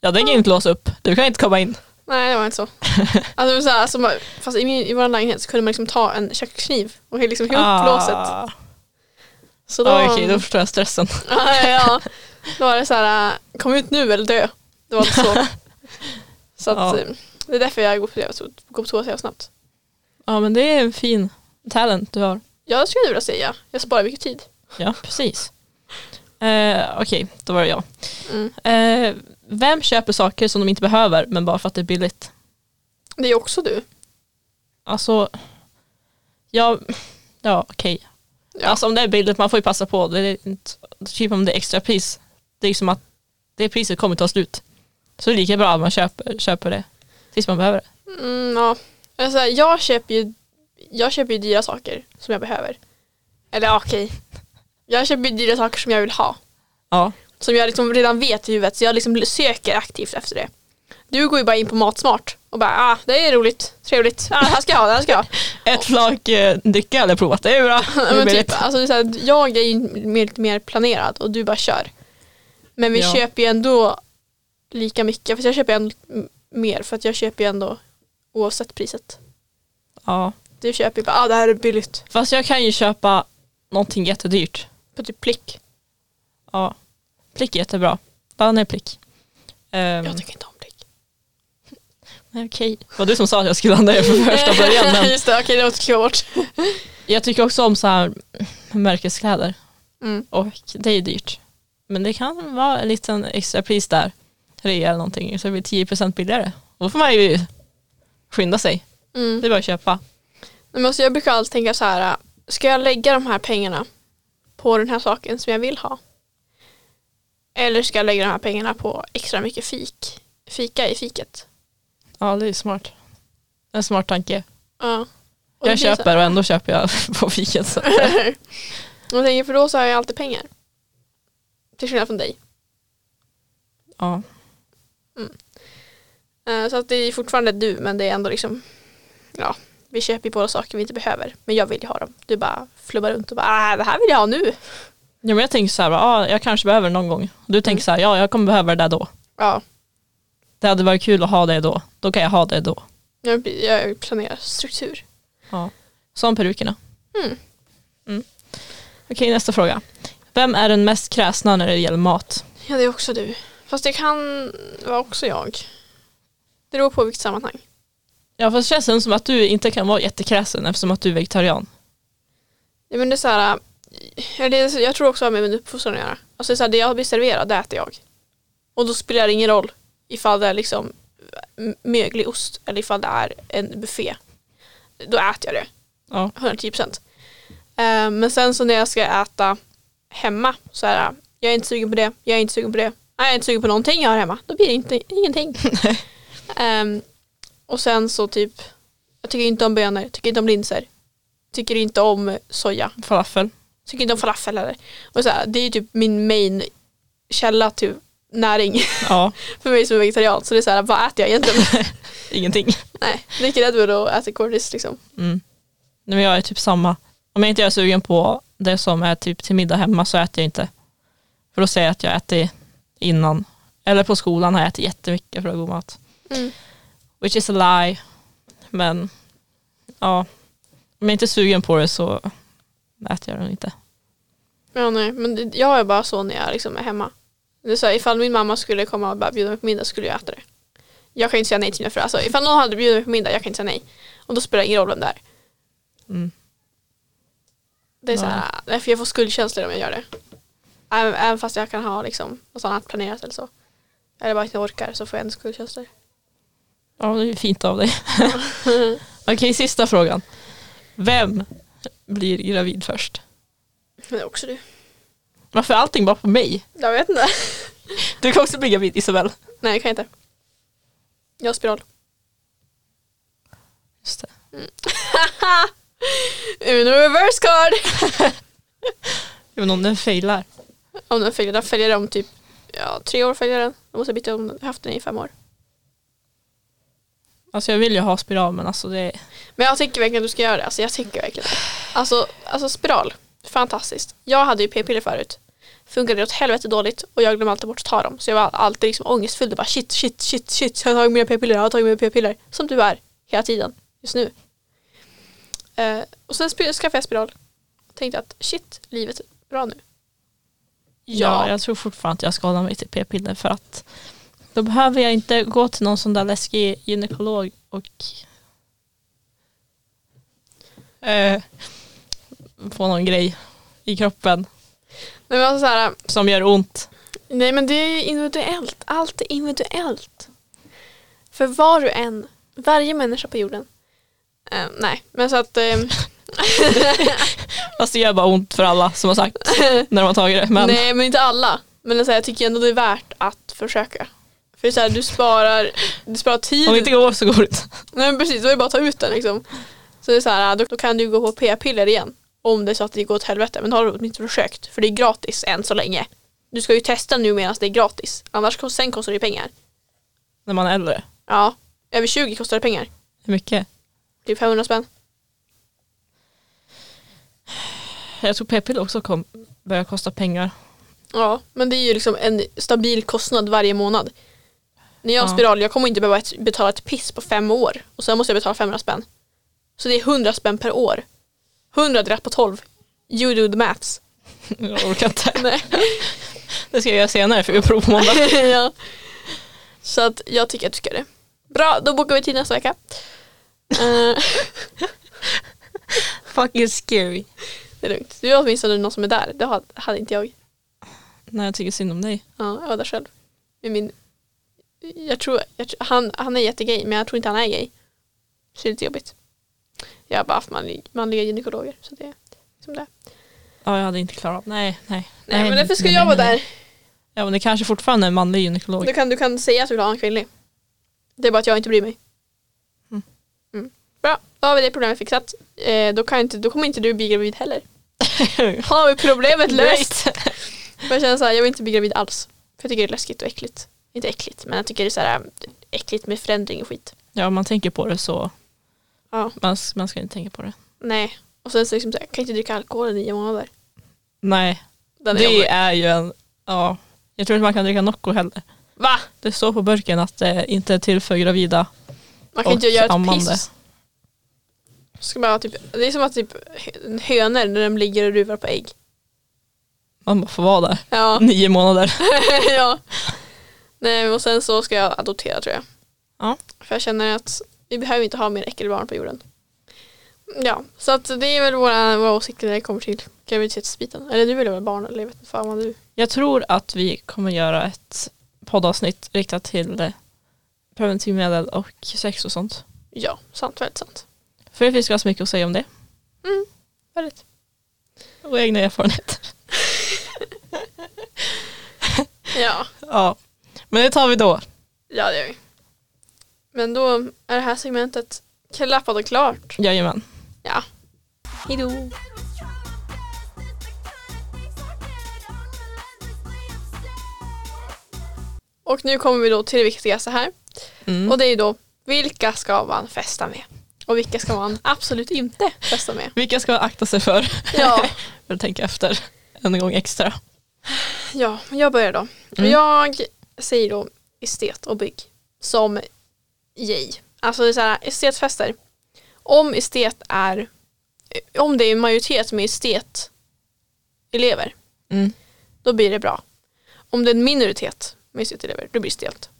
D: Jag tänker inte låsa upp, du kan inte komma in.
C: Nej det var inte så. Alltså, det var så här, alltså, man- fast i, min, i vår lägenhet så kunde man liksom ta en kökskniv och liksom hela upp låset.
D: Ah.
C: Så då,
D: Ja, Okej, då förstår jag stressen.
C: ja, ja, Ah, ja. Då var det så här, äh, kom ut nu eller dö. Det var inte så. Så att,
D: Ja.
C: eh, det är därför jag går på, jag går på toa så jävla snabbt.
D: Ja men det är en fin talent du har.
C: Jag skulle vilja säga, jag sparar mycket tid.
D: Ja, precis. Eh, Okej, då var det jag.
C: Mm.
D: Eh, vem köper saker som de inte behöver men bara för att det är billigt?
C: Det är också du.
D: Alltså, ja, ja okej.
C: Ja.
D: Alltså om det är billigt, man får ju passa på. Det är inte, typ om det är extra pris. Det är ju som att det priset kommer ta slut. Så det är lika bra att man köper, köper det tills man behöver det.
C: Mm, ja. alltså, jag, köper ju, jag köper ju dyra saker som jag behöver. Eller ja, okej. Jag köper ju dyra saker som jag vill ha.
D: Ja,
C: Som jag liksom redan vet i huvudet så jag liksom söker aktivt efter det. Du går ju bara in på Matsmart och bara ah, det är roligt, trevligt, ah, det här ska jag ha, det här ska jag ha.
D: ett flak eh, dricka har jag provat, det är bra.
C: Ja,
D: Det är
C: men
D: billigt.
C: typ, alltså, det är så här, jag är ju mer, lite mer planerad och du bara kör. Men vi
D: Ja.
C: köper ju ändå lika mycket. Fast jag köper ju ändå m- mer för att jag köper ju ändå oavsett priset.
D: Ja.
C: Du köper ju bara, ah, det här är billigt.
D: Fast jag kan ju köpa någonting jättedyrt.
C: På typ plick.
D: Ja. Plick är jättebra. Ladda ner plick. Ehm,
C: Jag tycker inte om plick.
D: nej, okej. Det var du som sa att jag skulle ladda ner från första början. Men
C: Just det, okej det återgår jag bort.
D: jag tycker också om så här märkeskläder.
C: Mm.
D: Och det är dyrt. Men det kan vara en liten extra pris där. Rea eller någonting. Så det blir 10% billigare. Då får man ju skynda sig.
C: Mm.
D: Det är bara att köpa.
C: Nej, Men alltså, jag brukar alltid tänka så här, äh, ska jag lägga de här pengarna på den här saken som jag vill ha? Eller ska jag lägga de här pengarna på extra mycket fik? Fika i fiket.
D: Ja, det är smart. En smart tanke.
C: Ja. Och
D: Jag
C: det blir så-
D: köper och ändå köper jag på fiket. Så.
C: Jag tänker för då så har jag alltid pengar. Till skillnad från dig.
D: Ja.
C: Eh, Så att det är fortfarande du men det är ändå liksom ja, vi köper ju båda saker vi inte behöver. Men jag vill ju ha dem. Du bara flubbar runt och bara äh, det här vill jag ha nu.
D: Ja, men jag tänker så här, bara, ah, jag kanske behöver det någon gång. Du
C: Mm.
D: tänker så här, ja jag kommer behöva det där då.
C: Ja,
D: Det hade varit kul att ha det då. Då kan jag ha det då.
C: jag, blir- jag planerar struktur.
D: Ja. Som perukerna.
C: Mm.
D: Mm. Okej, nästa fråga. Vem är den mest kräsna när det gäller mat?
C: Ja det är också du. Fast det kan vara också jag. Det beror på vilket sammanhang.
D: Ja, fast det känns ändå som att du inte kan vara jättekräsen eftersom att du är vegetarian.
C: Ja, Ja, men det är så här, ja, det är, så- jag tror också att det har med min uppfostran att göra. Alltså det, är så här, det jag blir serverad, det äter jag. Och då spelar det ingen roll ifall det är liksom m- möglig ost eller ifall det är en buffé. Då äter jag det,
D: Ja.
C: 110 procent. Äh, men sen så när jag ska äta hemma så är det, jag är inte sugen på det, jag är inte sugen på det, nej jag är inte sugen på någonting jag har hemma. Då blir det inte, ingenting. Ehm, och sen så typ, jag tycker inte om bönor, jag tycker inte om linser, tycker inte om soja.
D: Falafel.
C: Tycker inte om falafel heller. Och så här, det är ju typ min main källa till näring
D: Ja,
C: för mig som är vegetarian. Så det är så här, vad äter jag egentligen?
D: ingenting.
C: Nej, dricker Red Bull och äter cornflakes liksom.
D: Mm. Nej, men jag är typ samma. Om jag inte är sugen på det som är typ till middag hemma så äter jag inte. För då säger jag att jag äter innan. Eller på skolan har jag ätit jättemycket för att god mat.
C: Mm.
D: Which is a lie. Men ja, om jag inte är sugen på det så äter jag det inte.
C: Ja, nej, men det- jag är bara så när jag liksom är hemma. Det är så här, ifall min mamma skulle komma och bara bjuda mig på middag skulle jag äta det. Jag kan ju inte säga nej till mina föräldrar. Alltså, ifall någon hade bjudit mig på middag, jag kan inte säga nej. Och då spelar det ingen roll vem det är.
D: Mm.
C: Det är så här, nej, för jag får skuldkänslor om jag gör det. Även, även fast jag kan ha liksom, något annat planerat eller så. Eller bara inte orkar så får jag ändå skuldkänslor.
D: Ja, det är fint av dig. Okej, sista frågan. Vem blir gravid först?
C: Men det är också du.
D: Varför är allting bara på mig?
C: Jag vet inte.
D: Du kan också bli gravid Isabel.
C: nej, jag kan inte. Jag har spiral.
D: Just det.
C: Uno reverse card!
D: Jag vet inte om den failar.
C: Om den följer, den följer om typ ja, tre år följer den. Då måste jag byta om den. Jag har haft den i fem år.
D: Alltså jag vill ju ha spiral men alltså det är...
C: Men jag tycker verkligen att du ska göra det. Alltså jag tycker verkligen det. Alltså, alltså spiral, fantastiskt. Jag hade ju p-piller förut. Funkade åt helvete dåligt och jag glömde alltid bort att ta dem. Så jag var alltid liksom ångestfylld och bara shit, shit, shit, shit. Jag har tagit mina p-piller, jag har tagit mina p-piller. Som du är hela tiden just nu. Eh, och sen sp- skaffade jag spiral. Tänkte att shit, livet är bra nu.
D: Ja, jag tror fortfarande att jag ska hålla mig till p-piller för att då behöver jag inte gå till någon sån där läskig gynekolog och eh, få någon grej i kroppen
C: Nej, men alltså så här,
D: som gör ont.
C: Nej men det är ju individuellt. Allt är individuellt. För var du än, varje människa på jorden. Eh, nej, men så att... ehm,
D: Fast det gör bara ont för alla som har sagt när de har tagit det. Men
C: Nej men inte alla. Men så här, jag tycker ändå det är värt att försöka. För så här, du sparar, du sparar tid.
D: om det inte går så går det inte.
C: Nej men precis, då är det bara att ta ut den liksom. Så det är så här, då, då kan du gå på p-piller igen. Om det är så att det går åt helvete. Men då har du åtminstone försökt. För det är gratis än så länge. Du ska ju testa nu medan det är gratis. Annars kost- sen kostar det ju pengar.
D: När man är äldre.
C: Ja, över 20 kostar det pengar.
D: Hur mycket?
C: Typ 500 spänn.
D: Jag tror p-piller också kom, börjar kosta pengar.
C: Ja, men det är ju liksom en stabil kostnad varje månad. När jag har
D: Ja.
C: spiral, jag kommer inte behöva ett- betala ett piss på fem år. Och sen måste jag betala 500 spänn. Så det är 100 spänn per år. 100 delat på 12. You do the maths.
D: Jag orkar inte.
C: Nej.
D: Det ska jag göra senare för vi har prov på måndag.
C: ja. Så att jag tycker att du ska göra det. Bra, då bokar vi tid nästa vecka. Eh,
D: Fucking scary.
C: det är lugnt. Du har åtminstone någon som är där. Det ha- hade inte jag.
D: Nej, jag tycker synd om dig.
C: Ja, jag var där själv. Med min, jag tror, jag, tror- han, han är jättegay men jag tror inte han är gay. Så det är lite jobbigt. Jag har bara haft manlig, manliga gynekologer. Så det är liksom det.
D: Ja, jag hade inte klarat av. Nej, nej.
C: Nej, men därför ska
D: nej,
C: jag
D: nej,
C: vara
D: nej.
C: där.
D: Ja, men det kanske fortfarande är en manlig gynekolog.
C: Du kan, du kan säga att du vill ha en kvinnlig. Det är bara att jag inte bryr mig.
D: Mm.
C: Mm. Bra, då har vi det problemet fixat. Eh, då, kan inte, då kommer inte du bli gravid heller. Har vi problemet löst? Men jag känner så här, jag vill inte bli gravid alls. För jag tycker det är läskigt och äckligt. Inte äckligt, men jag tycker det är så här äckligt med förändring och skit.
D: ja, om man tänker på det så.
C: Ja.
D: Man, man ska inte tänka på det.
C: Nej. Och sen så liksom så här, jag kan inte dricka alkohol i nio månader.
D: Nej,
C: Den är
D: det
C: jobbig.
D: är ju en... Ja, jag tror inte man kan dricka Nocco heller.
C: Va?
D: Det står på burken att det inte är till för gravida
C: Man kan
D: och
C: inte göra ett
D: ammande.
C: piss. Ska bara, typ, det är som att typ hönor när de ligger och ruvar på ägg.
D: Man bara får vara där.
C: Ja.
D: Nio månader.
C: ja. Nej, och sen så ska jag adoptera tror jag.
D: Ja.
C: För jag känner att vi behöver inte ha mer äckelbarn på jorden. Ja, så att det är väl våra, våra åsikter när det kommer till graviditetsbiten. Eller du är väl barn eller jag vet inte fan vad du...
D: Jag tror att vi kommer göra ett poddavsnitt riktat till eh, preventivmedel och sex och sånt.
C: Ja, sant, väldigt sant.
D: För det finns ganska mycket att säga om det.
C: Väldigt.
D: Och egna erfarenheter.
C: Ja,
D: Ja. Men det tar vi då.
C: ja det gör vi. Men då är det här segmentet klappat och klart.
D: Jajamän.
C: Ja. Hejdå. Och nu kommer vi då till det viktigaste här.
D: Mm.
C: Och det är ju då, vilka ska man festa med? Och vilka ska man absolut inte festa med?
D: Vilka ska man akta sig för?
C: Ja,
D: För att tänka efter en gång extra.
C: ja men jag börjar då. Och
D: Mm.
C: Jag säger då estet och bygg som yay. Alltså det är så här, estetfester. Om estet är, om det är majoritet med estetelever,
D: Mm.
C: då blir det bra. Om det är en minoritet med estetelever, då blir det stelt.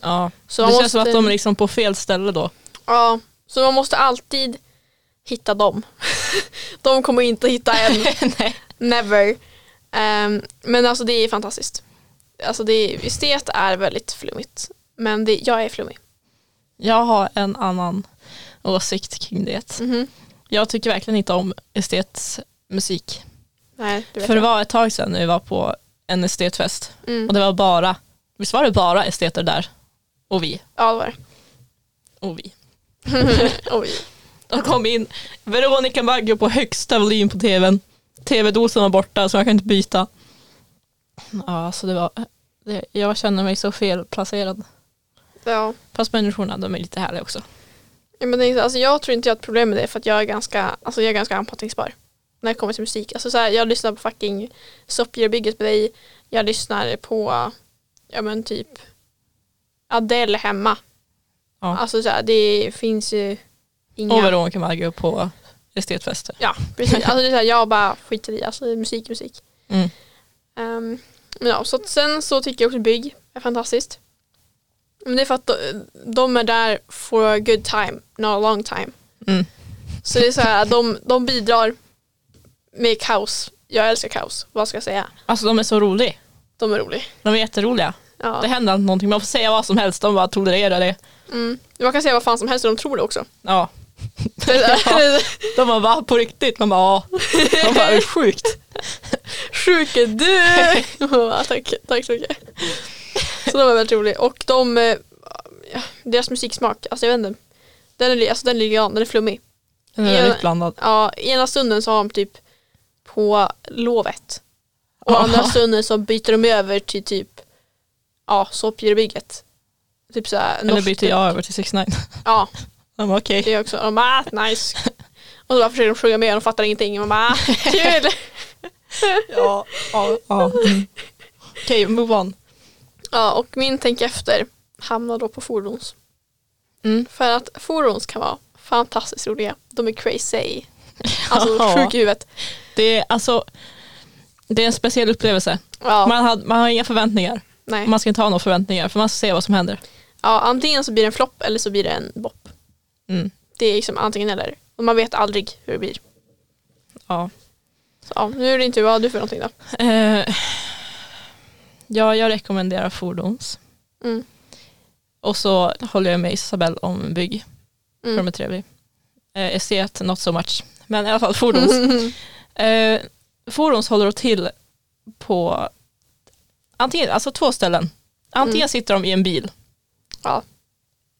D: Ja.
C: Så
D: det
C: man
D: känns
C: måste-
D: som att de är liksom på fel ställe då.
C: Ja, så man måste alltid hitta dem. de kommer inte hitta en.
D: Nej.
C: Never. Ehm, men alltså det är fantastiskt. Alltså det är, estet är väldigt flummigt. Men det, jag är flummig.
D: Jag har en annan åsikt kring det.
C: Mhm.
D: Jag tycker verkligen inte om estetmusik.
C: Nej, du vet
D: För det
C: jag.
D: var ett tag sedan när vi var på en estetfest
C: Mm.
D: och det var bara, visst var det bara esteter där? Och vi,
C: Ja, det var det.
D: och vi.
C: Oj.
D: De kom in, Veronica Maggio på högsta volym på tvn. Tv-dosan var borta så jag kan inte byta. Ja, alltså det var, det, jag känner mig så felplacerad.
C: Ja.
D: Fast människorna, de är lite härliga också.
C: Ja, Men det är, så- alltså jag tror inte jag har ett problem med det för att jag är ganska, alltså jag är ganska anpassningsbar. När det kommer till musik. Alltså så här, jag lyssnar på fucking Soppgirlbygget med dig. Jag lyssnar på, ja men typ Adele hemma.
D: Ja.
C: Alltså så här, det finns ju inga...
D: Och Veronica Maggio på estetfester.
C: Ja, precis. Alltså det är så här, jag bara skiter i, alltså musik är musik.
D: Mm.
C: Ehm, men ja, så att sen så tycker jag också bygg är fantastiskt. Men det är för att de, de är där for a good time, not a long time.
D: Mm.
C: Så det är så här, de, de bidrar med kaos. Jag älskar kaos, vad ska jag säga?
D: Alltså de är så roliga.
C: De är roliga.
D: De är jätteroliga.
C: Ja.
D: Det händer alltid någonting, man får säga vad som helst, de bara tolererar det.
C: Mm. Man kan säga vad fan som helst och de tror det också.
D: Ja.
C: Det är så här,
D: De bara va, på riktigt? Man bara ja. De bara, "Är sjukt.
C: Sjuk är du! ja, tack, tack så mycket. Så de var väldigt roliga. Och de, eh, ja, deras musiksmak, alltså jag vet inte. Den är, li- alltså den är lilian, den är flummig.
D: Den är
C: Ja.
D: väldigt blandad.
C: Ja, i ena stunden så har de typ på lovet. Och
D: Aha.
C: andra stunden så byter de över till typ ja, såpgirobygget. Typ såhär
D: Eller
C: norskt-
D: byter jag över till 6 9
C: Ja,
D: De bara okej.
C: det är också. De bara ah, nice. Och så bara försöker de sjunga med och de fattar ingenting. Man bara ah, kul.
D: Ja. ja, ja. Mm. Okej, move on.
C: Ja, och min tänk efter hamnar då på fordons.
D: Mm.
C: För att fordons kan vara fantastiskt roliga. De är crazy. Alltså
D: Ja.
C: sjuka i huvudet.
D: Det är alltså det är en speciell upplevelse.
C: Ja,
D: Man, har, man har inga förväntningar.
C: nej.
D: Man ska inte ha några förväntningar för man ska se vad som händer.
C: ja, antingen så blir det en flopp eller så blir det en bopp.
D: Mm.
C: Det är liksom antingen eller. Och man vet aldrig hur det blir.
D: Ja.
C: Så ja, nu är det inte vad har du för någonting då.
D: Eh, ja, jag rekommenderar fordons.
C: Mm.
D: Och så håller jag med Isabel om bygg.
C: Mm.
D: För de är trevliga. Eh, estet, not so much. Men i alla fall fordons. eh, fordons håller till på antingen, alltså två ställen. Antingen
C: Mm.
D: sitter de i en bil.
C: Ja.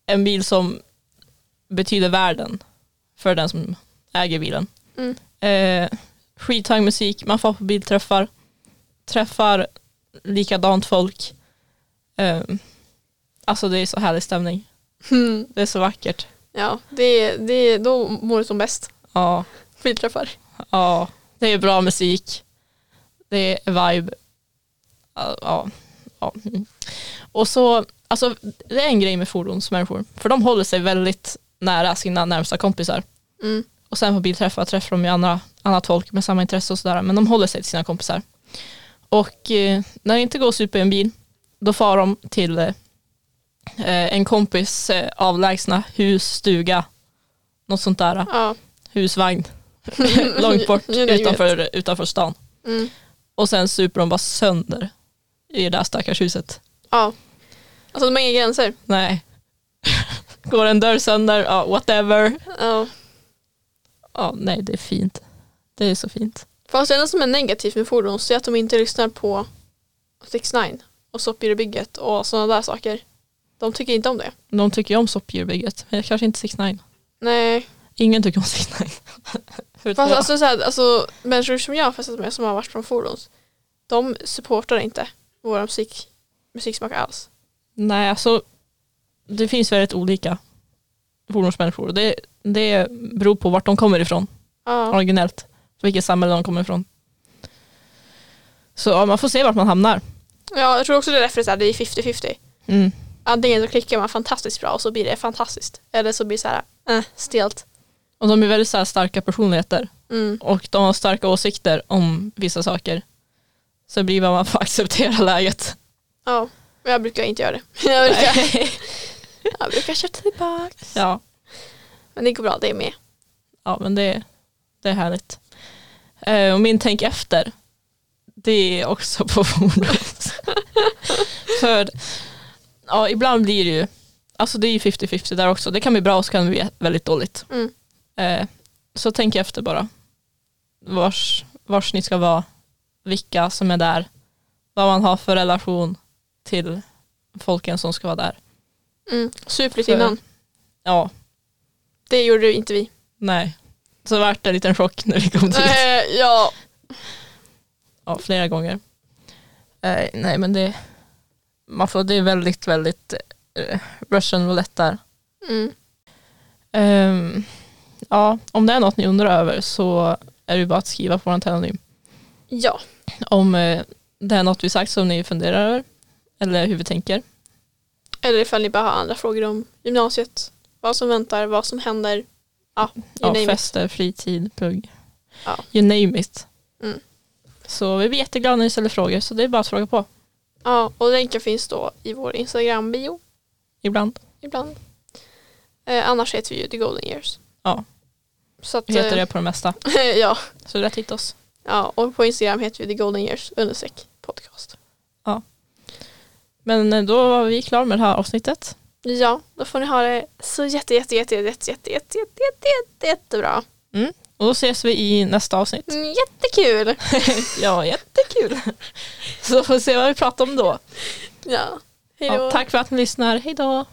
D: En bil som betyder världen för den som äger bilen.
C: Mm.
D: Eh, skithög musik, man får på bilträffar. Träffar likadant folk. Eh, alltså det är så härlig stämning.
C: Mm.
D: Det är så vackert.
C: Ja, det, det, då mår du som bäst.
D: Ja.
C: Bilträffar.
D: Ja, det är bra musik. Det är vibe. Ja, Ja. ja. Mm. Och så, alltså det är en grej med fordonsmänniskor. För de håller sig väldigt nära sina närmsta kompisar.
C: Mm.
D: Och sen på bilträffar träffar de ju andra, annat folk med samma intresse och sådär. Men de håller sig till sina kompisar. Och eh, när det inte går att supa i en bil, då far de till eh, en kompis eh, avlägsna hus, stuga, något sånt där
C: Ja.
D: husvagn långt bort
C: Ja, det är ju
D: utanför, utanför stan.
C: Mm.
D: Och sen super de bara sönder i det där stackars huset.
C: Ja. Alltså de har inga gränser.
D: Nej. Går en dörr sönder, ja, whatever.
C: Ja.
D: Ja, nej, det är fint. Det är så fint.
C: Fast alltså, det enda som är negativt med fordon så är att de inte lyssnar på 6 9 och Soppgyrobygget och sådana där saker. De tycker inte om det.
D: De tycker ju om soppdjurbygget, men kanske inte 6 9
C: Nej.
D: Ingen tycker om 6 9 Förutom
C: Fast
D: jag.
C: alltså, så här, alltså människor som jag har festat med som har varit från fordons de supportar inte vår musik, musiksmak alls.
D: Nej, alltså det finns väldigt olika fordonsmänniskor. Det, det beror på vart de kommer ifrån,
C: Ja.
D: originellt. Vilket samhälle de kommer ifrån. Så ja, man får se vart man hamnar.
C: ja, jag tror också det är därför det är så här, det är 50-50.
D: Mm.
C: Antingen så klickar man fantastiskt bra och så blir det fantastiskt. Eller så blir det så här, eh, stelt.
D: Och de är väldigt så här, starka personligheter.
C: Mm.
D: Och de har starka åsikter om vissa saker. Så det blir vad man får acceptera läget.
C: Ja, men jag brukar inte göra det. Jag brukar, jag brukar köpa tillbaka.
D: Ja,
C: Men det går bra, det är med.
D: ja men det, det är härligt. Eh, och min tänk efter, det är också på fordons. För ja, ibland blir det ju, alltså det är ju 50-50 där också. Det kan bli bra och så kan det bli väldigt dåligt.
C: Mm.
D: Eh, så tänk efter bara. Vars, vars ni ska vara, vilka som är där, vad man har för relation till folken som ska vara där.
C: Mm. Sup lite
D: För-
C: innan.
D: Ja,
C: Det gjorde inte vi.
D: nej. Så vart det en liten chock när vi kom dit.
C: Eh, ja.
D: Ja, flera gånger. Eh, nej men det, man får, det är väldigt, väldigt eh, Russian roulette där.
C: Mm.
D: Ehm, ja, om det är något ni undrar över så är det ju bara att skriva på vår anonym.
C: ja.
D: Om eh, det är något vi sagt som ni funderar över eller hur vi tänker.
C: Eller ifall ni bara har andra frågor om gymnasiet. Vad som väntar, vad som händer. Ja, you
D: Ja,
C: name it.
D: fester, fritid, plugg.
C: Ja.
D: You name it.
C: Mm.
D: Så vi blir jätteglada när ni ställer frågor så det är bara att fråga på
C: Ja, och länken finns då i vår Instagram-bio
D: ibland.
C: ibland. Eh, annars heter vi ju The Golden Years.
D: Ja.
C: Så att,
D: Heter
C: eh,
D: det på det mesta.
C: ja.
D: Så det är rätt hitta oss.
C: ja, och på Instagram heter vi The Golden Years understreck podcast.
D: Men eh, då var vi klara med det här avsnittet.
C: Ja, då får ni ha det så jätte, jätte, jätte, jätte, jätte, jätte, jätte, jätte, jätte, jättebra.
D: Och då ses vi i nästa avsnitt.
C: Mm, Jättekul!
D: Ja, jättekul. Så får vi se vad vi pratar om då.
C: Ja, hej då.
D: Ja, tack för att ni lyssnar. Hej då.